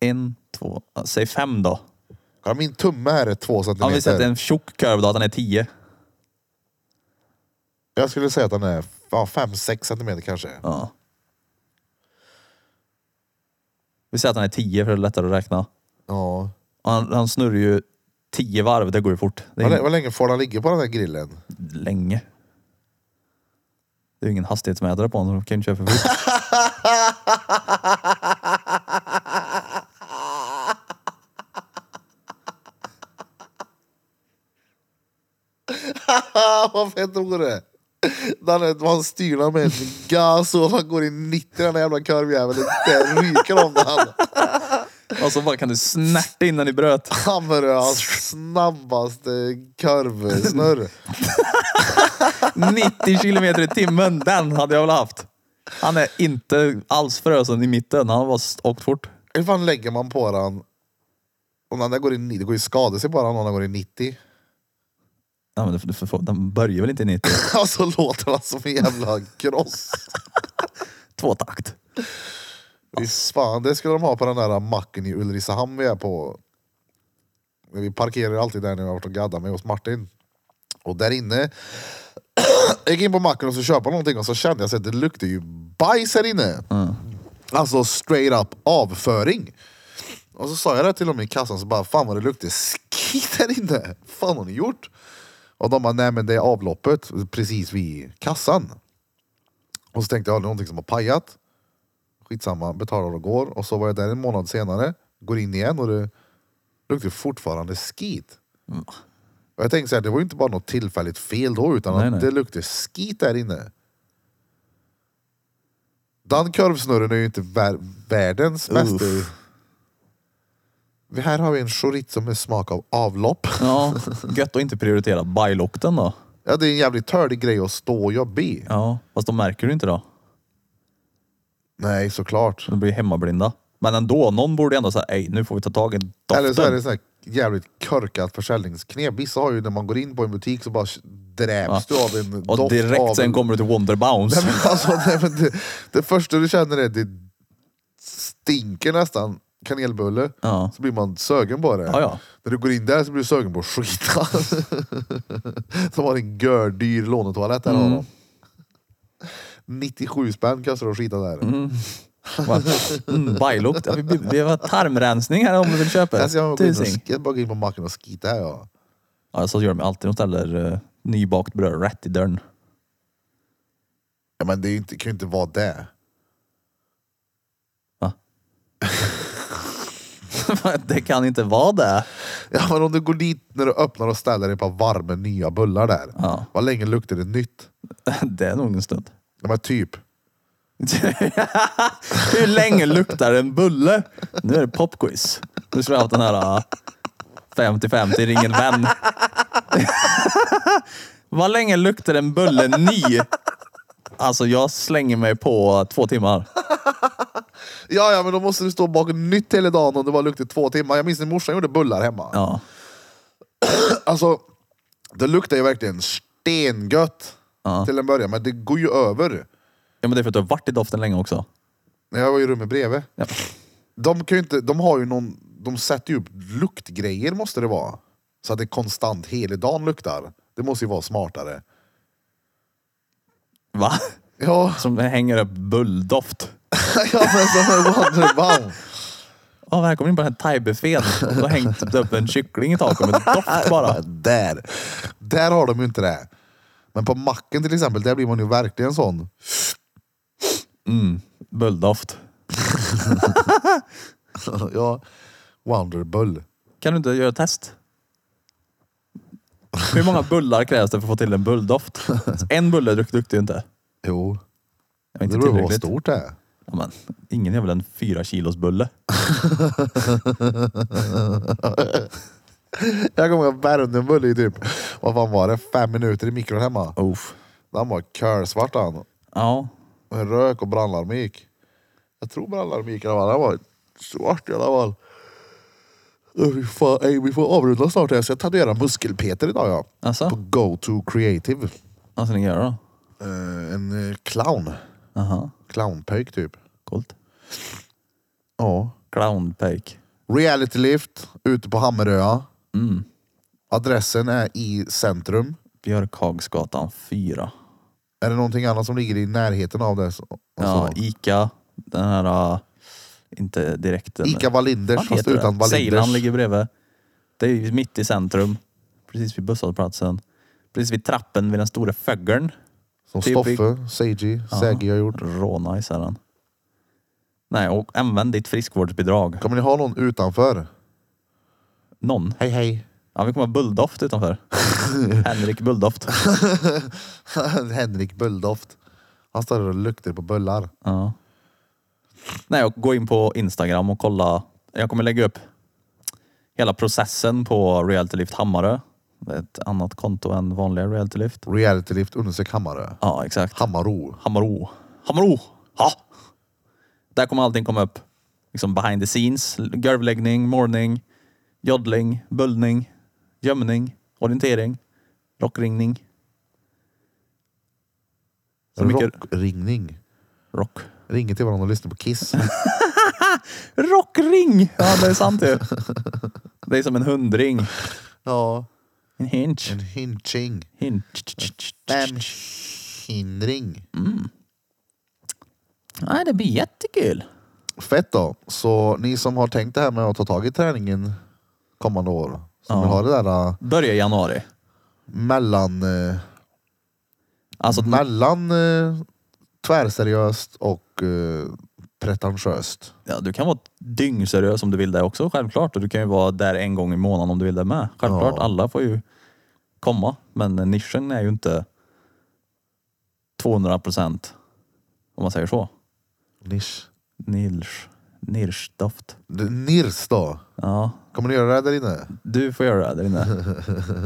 S1: En, två, ja, säg fem då.
S2: Kolla, min tumme här är två
S1: Om vi
S2: centimeter.
S1: sätter en tjock kurv då, att den är tio.
S2: Jag skulle säga att den är ja, fem, sex centimeter kanske.
S1: Ja. Vi säger att den är tio för det är lättare att räkna.
S2: Ja.
S1: Och han, han snurrar ju tio varv, det går ju fort. Det är
S2: Vad, lä-
S1: ju
S2: vad länge får den ligga på den här grillen?
S1: länge. Det är ju ingen hastighetsmätare på honom, så de kan ju inte köra för fort.
S2: Ah, vad fett vore! Danne, Man styr den med en gas och han går i 90 den här jävla kurvjäveln. Det ryker om den.
S1: Och så bara kan du snärta in den i bröt.
S2: Han var hans snabbaste kurvsnurr.
S1: 90 kilometer i timmen, den hade jag väl haft. Han är inte alls frösen i mitten, han har bara åkt fort.
S2: Hur fan lägger man på den? Om den där går i 90, det går ju skada sig bara om den går i 90.
S1: Ja, men det, det, den börjar väl inte i 90?
S2: Alltså låter den som en jävla kross.
S1: Tvåtakt.
S2: Fy fan, det skulle de ha på den där macken i Ulricehamn vi är på. Men Vi parkerar ju alltid där när jag har varit och gaddat mig hos Martin. Och där inne, jag gick in på macken och så köpa någonting och så kände jag så att det luktade ju bajs här inne. Alltså straight up avföring. Och så sa jag det till dem i kassan, så bara fan vad det luktar skit här inne. Fan har ni gjort? Och de bara, nej men det är avloppet precis vid kassan. Och så tänkte jag, ja, det är någonting som har pajat. Skitsamma, betalar och går. Och så var jag där en månad senare, går in igen och det luktar fortfarande skit.
S1: Mm.
S2: Och jag tänkte så här, det var ju inte bara något tillfälligt fel då utan
S1: Nej,
S2: att
S1: nej.
S2: det luktar skit där inne. Den korvsnurren är ju inte vär- världens bästa.
S1: Uff.
S2: Vi- Här har vi en chorizo med smak av avlopp.
S1: Ja, gött att inte prioritera bajlokten då.
S2: Ja, det är en jävligt tördig grej att stå och jobba i.
S1: Ja, fast de märker du inte då.
S2: Nej, såklart.
S1: De blir hemmablinda. Men ändå, någon borde ändå säga, ej nu får vi ta tag i doften.
S2: Eller så är det sån här jävligt korkat försäljningsknep. Vissa har ju när man går in på en butik så bara
S1: Ja.
S2: dräps du av en
S1: Och
S2: doft
S1: direkt
S2: av...
S1: sen kommer du till Wonder
S2: Nej,
S1: Bounce.
S2: men alltså, nej, men det, det första du känner är det stinker nästan kanelbulle.
S1: Ja.
S2: Så blir man sögen på det.
S1: Ja, ja.
S2: När du går in där så blir du sögen på att skita. Som har en gördyr lånetoalett där
S1: Mm.
S2: har de. 97 spänn kostar det att skita där.
S1: Va? Mm, Bajlukt. Ja, vi, vi, vi har tarmrensning här om du vill köpa.
S2: Alltså, jag, går in och,
S1: Tusing.
S2: sk- jag bara går in på macken och skita här. Ja.
S1: Ja, så gör de alltid. De ställer eh, nybakt bröd rätt i dörren.
S2: Ja, men det är ju inte, kan ju inte vara det.
S1: Va? det kan inte vara det.
S2: Ja, men om du går dit när du öppnar och ställer ett par varma nya bullar där.
S1: Ja.
S2: Vad länge luktar det nytt?
S1: Det är nog en stund.
S2: Ja, men typ.
S1: Hur länge luktar en bulle? Nu är det popquiz. Nu skulle jag haft den här äh, 50-50, ring en vän. Vad länge luktar en bulle ny? Alltså jag slänger mig på två timmar.
S2: Ja, ja, men då måste du stå bakom nytt hela dagen om det bara luktar två timmar. Jag minns när morsan gjorde bullar hemma.
S1: Ja,
S2: Alltså, det luktar ju verkligen stengött till en början, men det går ju över.
S1: ja men det är för att du har varit i doften länge också.
S2: När jag var i rummet bredvid.
S1: Ja.
S2: De kan ju inte, de har ju någon, de sätter ju upp luktgrejer måste det vara. Så att det konstant hela dagen luktar. Det måste ju vara smartare.
S1: Va?
S2: Ja,
S1: Som hänger upp bulldoft.
S2: ja men som en wonderbound.
S1: Ja, välkommen in på den här thaibuffén. Och då har hängt upp en kyckling i taket med doft bara.
S2: Där. Där har de ju inte det. Men på macken till exempel, där blir man ju verkligen sån.
S1: Bulldoft.
S2: Ja, wonderbull.
S1: Kan du inte göra ett test? Hur många bullar krävs det för att få till en bulldoft? En bulle dukt- duktig inte.
S2: Jo,
S1: Jag är
S2: det
S1: inte
S2: beror på vad
S1: tillräckligt.
S2: stort det är.
S1: Ja, men, ingen är väl en fyra kilos bulle?
S2: Jag kommer ihåg Värmdöbulle i typ, vad fan var det, fem minuter i mikron hemma.
S1: Uff.
S2: Den var kölsvart han.
S1: Ja.
S2: Med rök och brandlarm gick. Jag tror brandlarm gick i alla fall. Den var svart i alla fall. Åh, fy fan, ey, vi får avrunda snart här så jag tatuerar muskelpeter idag ja.
S1: Alltså?
S2: På Go To Creative.
S1: Vad ska ni göra då?
S2: Eh, en eh, clown.
S1: Aha.
S2: Clownpöjk typ.
S1: Coolt.
S2: Ja.
S1: Clownpejk.
S2: Reality Lift ute på Hammeröa.
S1: Mm.
S2: Adressen är i centrum.
S1: Björkhagsgatan 4.
S2: Är det någonting annat som ligger i närheten av det? Alltså, så- och
S1: Ja,
S2: så?
S1: Ica. Den här... äh, Inte direkt. den-
S2: Ica Wallinders
S1: Vad
S2: fast
S1: heter det?
S2: utan Wallinders.
S1: Ceylan ligger bredvid. Det är ju mitt i centrum. Precis vid busshållplatsen. Precis vid trappen vid den stora föggeln.
S2: Som
S1: Typ i-
S2: Stoffe, Seiji, Sägi har gjort.
S1: Rånice är den. Nej, och använd ditt friskvårdsbidrag.
S2: Kommer ni ha någon utanför?
S1: Någon.
S2: Hej hej.
S1: Ja, vi kommer ha Bulldoft utanför. Henrik Bulldoft.
S2: Henrik Bulldoft. Han står där och luktar på bullar.
S1: Ja. Nej, och gå in på Instagram och kolla. Jag kommer lägga upp hela processen på Reality Lift Hammarö. Det är ett annat konto än vanliga Reality Lift.
S2: Reality Lift undersök Hammarö.
S1: Ja, exakt.
S2: Hammarö.
S1: Hammarö. Hammarö! Ja! Där kommer allting komma upp. Liksom behind the scenes. Görvläggning, morning, joddling, bullning, gömning, orientering, rockringning. Så mycket
S2: Rockringning.
S1: rock.
S2: Ringer till varandra och lyssnar på Kiss.
S1: Rockring! Ja, det är sant ju. Det är som en hundring.
S2: ja.
S1: En hinch.
S2: En hinching.
S1: Hinch.
S2: En hindring.
S1: Nej, det blir jättekul.
S2: Fett då. Så ni som har tänkt det här med att ta tag i träningen kommande år. Som vill ha det där äh,
S1: Börja i januari.
S2: mellan... eh,
S1: Alltså, att-
S2: mellan eh, tvärseriöst och eh, pretentiöst.
S1: ja, du kan vara dyngseriös om du vill det också, självklart. Och du kan ju vara där en gång i månaden om du vill det med. Självklart,
S2: Ja.
S1: alla får ju komma. Men nischen är ju inte 200 procent, om man säger så.
S2: Nisch.
S1: Nilsch. Nirschdoft.
S2: D- Nirs då?
S1: Ja,
S2: Kommer ni göra det där inne?
S1: du får göra det där inne.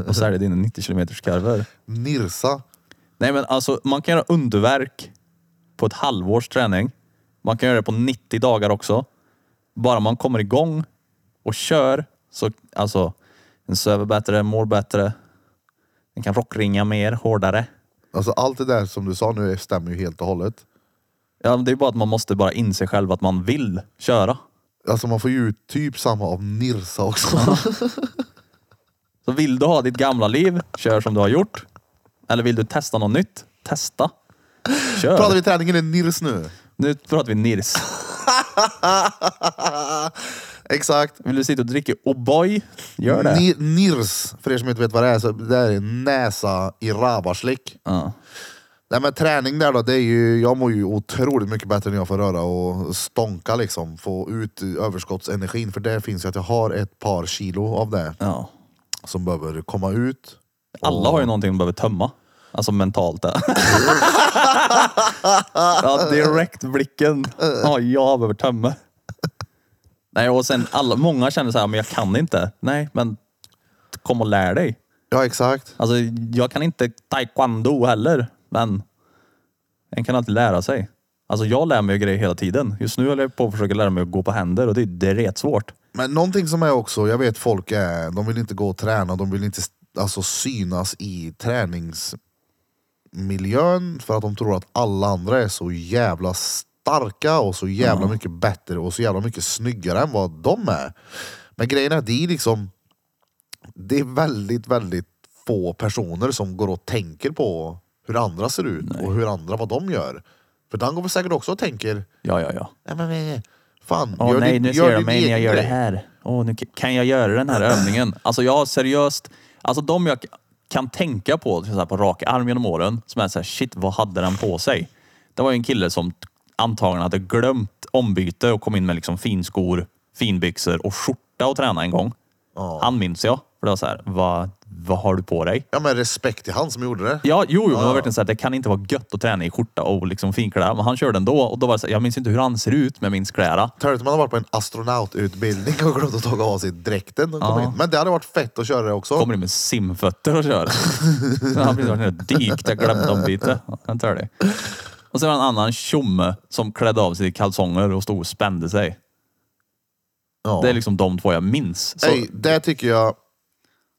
S1: Och sälja dina 90 km karver.
S2: Nirsa?
S1: Nej men alltså, man kan göra underverk på ett halvårs träning. Man kan göra det på 90 dagar också. Bara man kommer igång och kör Så alltså, den söver bättre, mår bättre. Den kan rockringa mer, hårdare.
S2: Alltså allt det där som du sa nu stämmer ju helt och hållet.
S1: Ja, men det är bara att man måste bara inse själv att man vill köra.
S2: Alltså man får ju ut typ samma av Nirsa också.
S1: Så vill du ha ditt gamla liv, kör som du har gjort. Eller vill du testa något nytt, testa. Kör.
S2: Pratar vi träningen är Nirs nu.
S1: Nu pratar vi nirs.
S2: Exakt.
S1: Vill du sitta och dricka O'boy, gör det.
S2: Ni- Nirs, för er som inte vet vad det är, så det här är näsa i rabarslick.
S1: Ja.
S2: Nej men träning där då, det är ju, jag mår ju otroligt mycket bättre när jag får röra och stånka liksom. Få ut överskottsenergin, för det finns ju att jag har ett par kilo av det
S1: Ja.
S2: som behöver komma ut.
S1: Alla har ju någonting de behöver tömma. Alltså mentalt. Där. ja, direkt blicken. Ja, jag behöver tömma. Nej, och sen alla, många känner så här, men jag kan inte. Nej, men kom och lär dig.
S2: Ja exakt.
S1: Alltså, jag kan inte taekwondo heller, men en kan alltid lära sig. Alltså jag lär mig ju grejer hela tiden. Just nu håller jag på att försöka lära mig att gå på händer och det, det är rätt svårt.
S2: Men någonting som är också, jag vet folk är, de vill inte gå och träna, de vill inte alltså, synas i träningsmiljön för att de tror att alla andra är så jävla starka och så jävla mycket bättre och så jävla mycket snyggare än vad de är. Men grejen är att det är liksom, det är väldigt, väldigt få personer som går och tänker på hur andra ser ut och hur andra, vad de gör. För den går väl säkert också och tänker,
S1: Ja, ja, ja.
S2: "Nej, men, nej, nej. fan,
S1: Åh nej,
S2: din-
S1: nu ser de
S2: din
S1: mig när jag
S2: egen
S1: gör det
S2: grej."
S1: här. Åh, nu k- kan jag göra den här övningen? Alltså jag har seriöst, alltså de jag k- kan tänka på så här, på rak arm genom åren, som är så här, shit vad hade den på sig? Det var ju en kille som t- antagligen hade glömt ombyte och kom in med liksom finskor, finbyxor och skjorta och träna en gång. Han minns jag. För det var så här, vad, vad har du på dig?
S2: Ja men respekt till han som gjorde det.
S1: Ja, jo, jo, men det var verkligen så här, det kan inte vara gött att träna i skjorta och liksom finkläder. Men han körde ändå och då var det så här, jag minns inte hur han ser ut, men jag minns kläderna.
S2: Tror du att man har varit på en astronaututbildning och glömt att ta av sig dräkten. Och kom in. Men det hade varit fett att köra det också.
S1: kommer in med simfötter och kör. Så han blir så här dykt, jag glömde ombyte. Han tar det. Och sen var det en annan tjomme som klädde av sig i kalsonger och stod och spände sig.
S2: Ja.
S1: Det är liksom de två jag minns. Så,
S2: Nej, det tycker jag,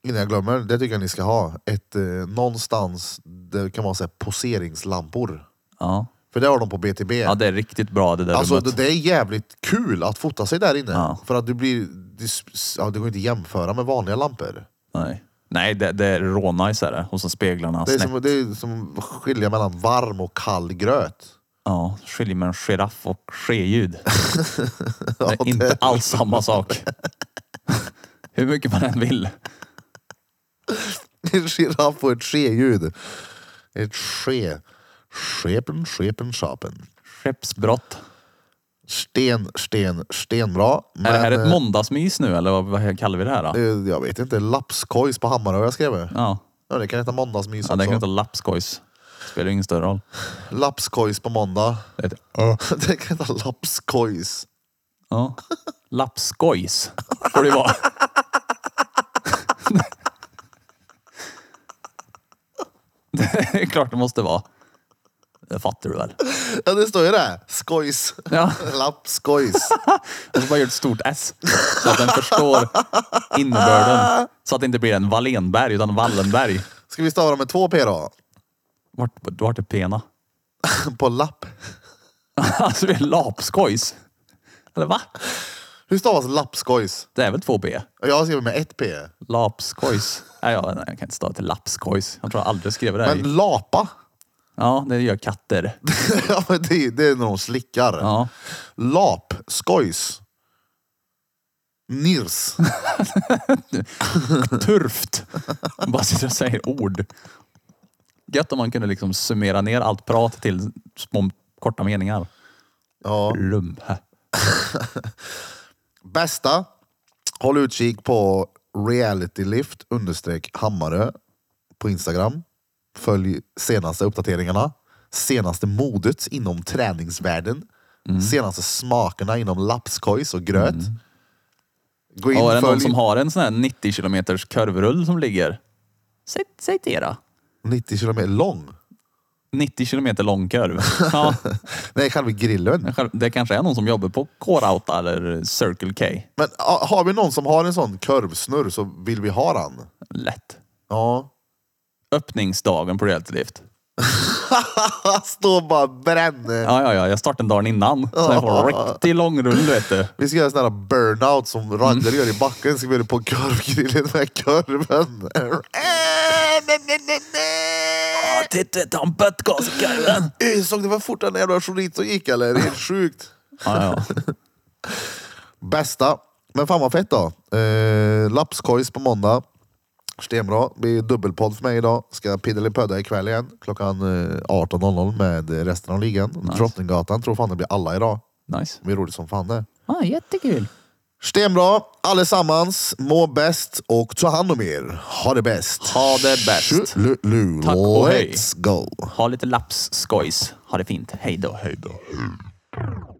S2: innan jag glömmer, det tycker jag ni ska ha. Ett, eh, någonstans, det kan vara så här poseringslampor.
S1: ja.
S2: För det har de på BTB.
S1: ja, det är riktigt bra det där
S2: Alltså det,
S1: rummet.
S2: det är jävligt kul att fota sig där inne.
S1: Ja.
S2: För att du blir, du, s- ja, det går inte att jämföra med vanliga lampor.
S1: Nej, Nej det, det är rånice är det. Och så speglarna
S2: Det är,
S1: snett.
S2: som, det är som att skilja mellan varm och kall gröt.
S1: Ja, skiljer mellan giraff och skeljud. Det
S2: Ja,
S1: är inte
S2: det-
S1: alls samma sak. Hur mycket man än vill.
S2: En giraff och ett sje-ljud. Ett ske. Skepen, skepen, schapen.
S1: Skeppsbrott.
S2: Sten, sten, stenbra.
S1: Är det här
S2: Men,
S1: ett
S2: eh,
S1: måndagsmys nu eller vad, vad kallar vi det här? Då?
S2: eh, Jag vet inte. Lapskojs på Hammarö jag skrev. Ja.
S1: Ja.
S2: det kan heta måndagsmys
S1: Ja, det
S2: också.
S1: kan heta lapskojs. Spelar ju ingen större roll.
S2: Lapskojs på måndag.
S1: Det heter-
S2: det kan heta lapskojs.
S1: Ja. Lapskojs får det vara. det är klart det måste vara. Det fattar du väl?
S2: Ja, det står ju det. Skojs.
S1: Ja.
S2: Lapskojs.
S1: Och så bara gör ett stort S. Så att den förstår innebörden. Så att det inte blir en Wallenberg utan Wallenberg.
S2: Ska vi stava dem med två p då?
S1: Vart, vart är pena?
S2: På lapp.
S1: Alltså det är lapskojs. Eller va?
S2: Hur stavas lapskojs?
S1: Det är väl två B?
S2: Jag har skrivit med ett p.
S1: Lapskojs. Nej, jag, nej, jag kan inte stava till lapskojs. Jag tror jag aldrig skrev det. här i-
S2: Men lapa?
S1: Ja, det gör katter.
S2: ja, men det, det är när de slickar.
S1: Ja.
S2: Lap, skojs. Nirs.
S1: Turft. Man Bara sitter och säger ord. Gött om man kunde liksom summera ner allt prat till små korta meningar.
S2: Ja.
S1: Rumpe.
S2: Bästa. Håll utkik på realitylift understreck Hammarö på Instagram. Följ senaste uppdateringarna. Senaste modet inom träningsvärlden.
S1: Mm.
S2: Senaste smakerna inom lapskojs och gröt. Gå in,
S1: Ja, är det någon
S2: följ
S1: som har en sån här 90 kilometers kurvrull som ligger? Säg- Säg till era.
S2: 90 kilometer lång.
S1: 90 kilometer lång kurv. Ja,
S2: Nej, själva grillen.
S1: själv- det kanske är någon som jobbar på K-Rauta eller Circle K.
S2: Men a- har vi någon som har en sån kurvsnurr så vill vi ha den.
S1: Lätt.
S2: Ja.
S1: Öppningsdagen på Reality Lift.
S2: Står bara och bränner.
S1: Ja, ja, ja. Jag startade dagen innan. Så jag får en riktig långrull, vet du.
S2: Vi ska göra sån här burnout som raggare gör i backen. Ska vi göra på korvgrillen med korven. Äh, nej, nej, nej, nej.
S1: Ah, Titta, ta en böttgas i kurven.
S2: Äh, Såg du vad fort den där jävla chorizo gick eller? Helt sjukt.
S1: Ja, ja.
S2: Bästa. Men fan vad fett då. Eh, Lapskojs på måndag. Stenbra. Det blir dubbelpodd för mig idag. Ska piddelipödda ikväll igen. Klockan eh, 18.00 med resten av ligan. Drottninggatan tror fan det blir alla idag.
S1: Nice.
S2: Det blir roligt som fan det.
S1: Ja, jättekul.
S2: Stenbra allesammans. Må bäst och ta hand om er. Ha det bäst.
S1: Ha det bäst.
S2: Tjolulu.
S1: Tack och hej.
S2: Let's go.
S1: Ha lite lapsskojs. Ha det fint. Hej då. Hej då.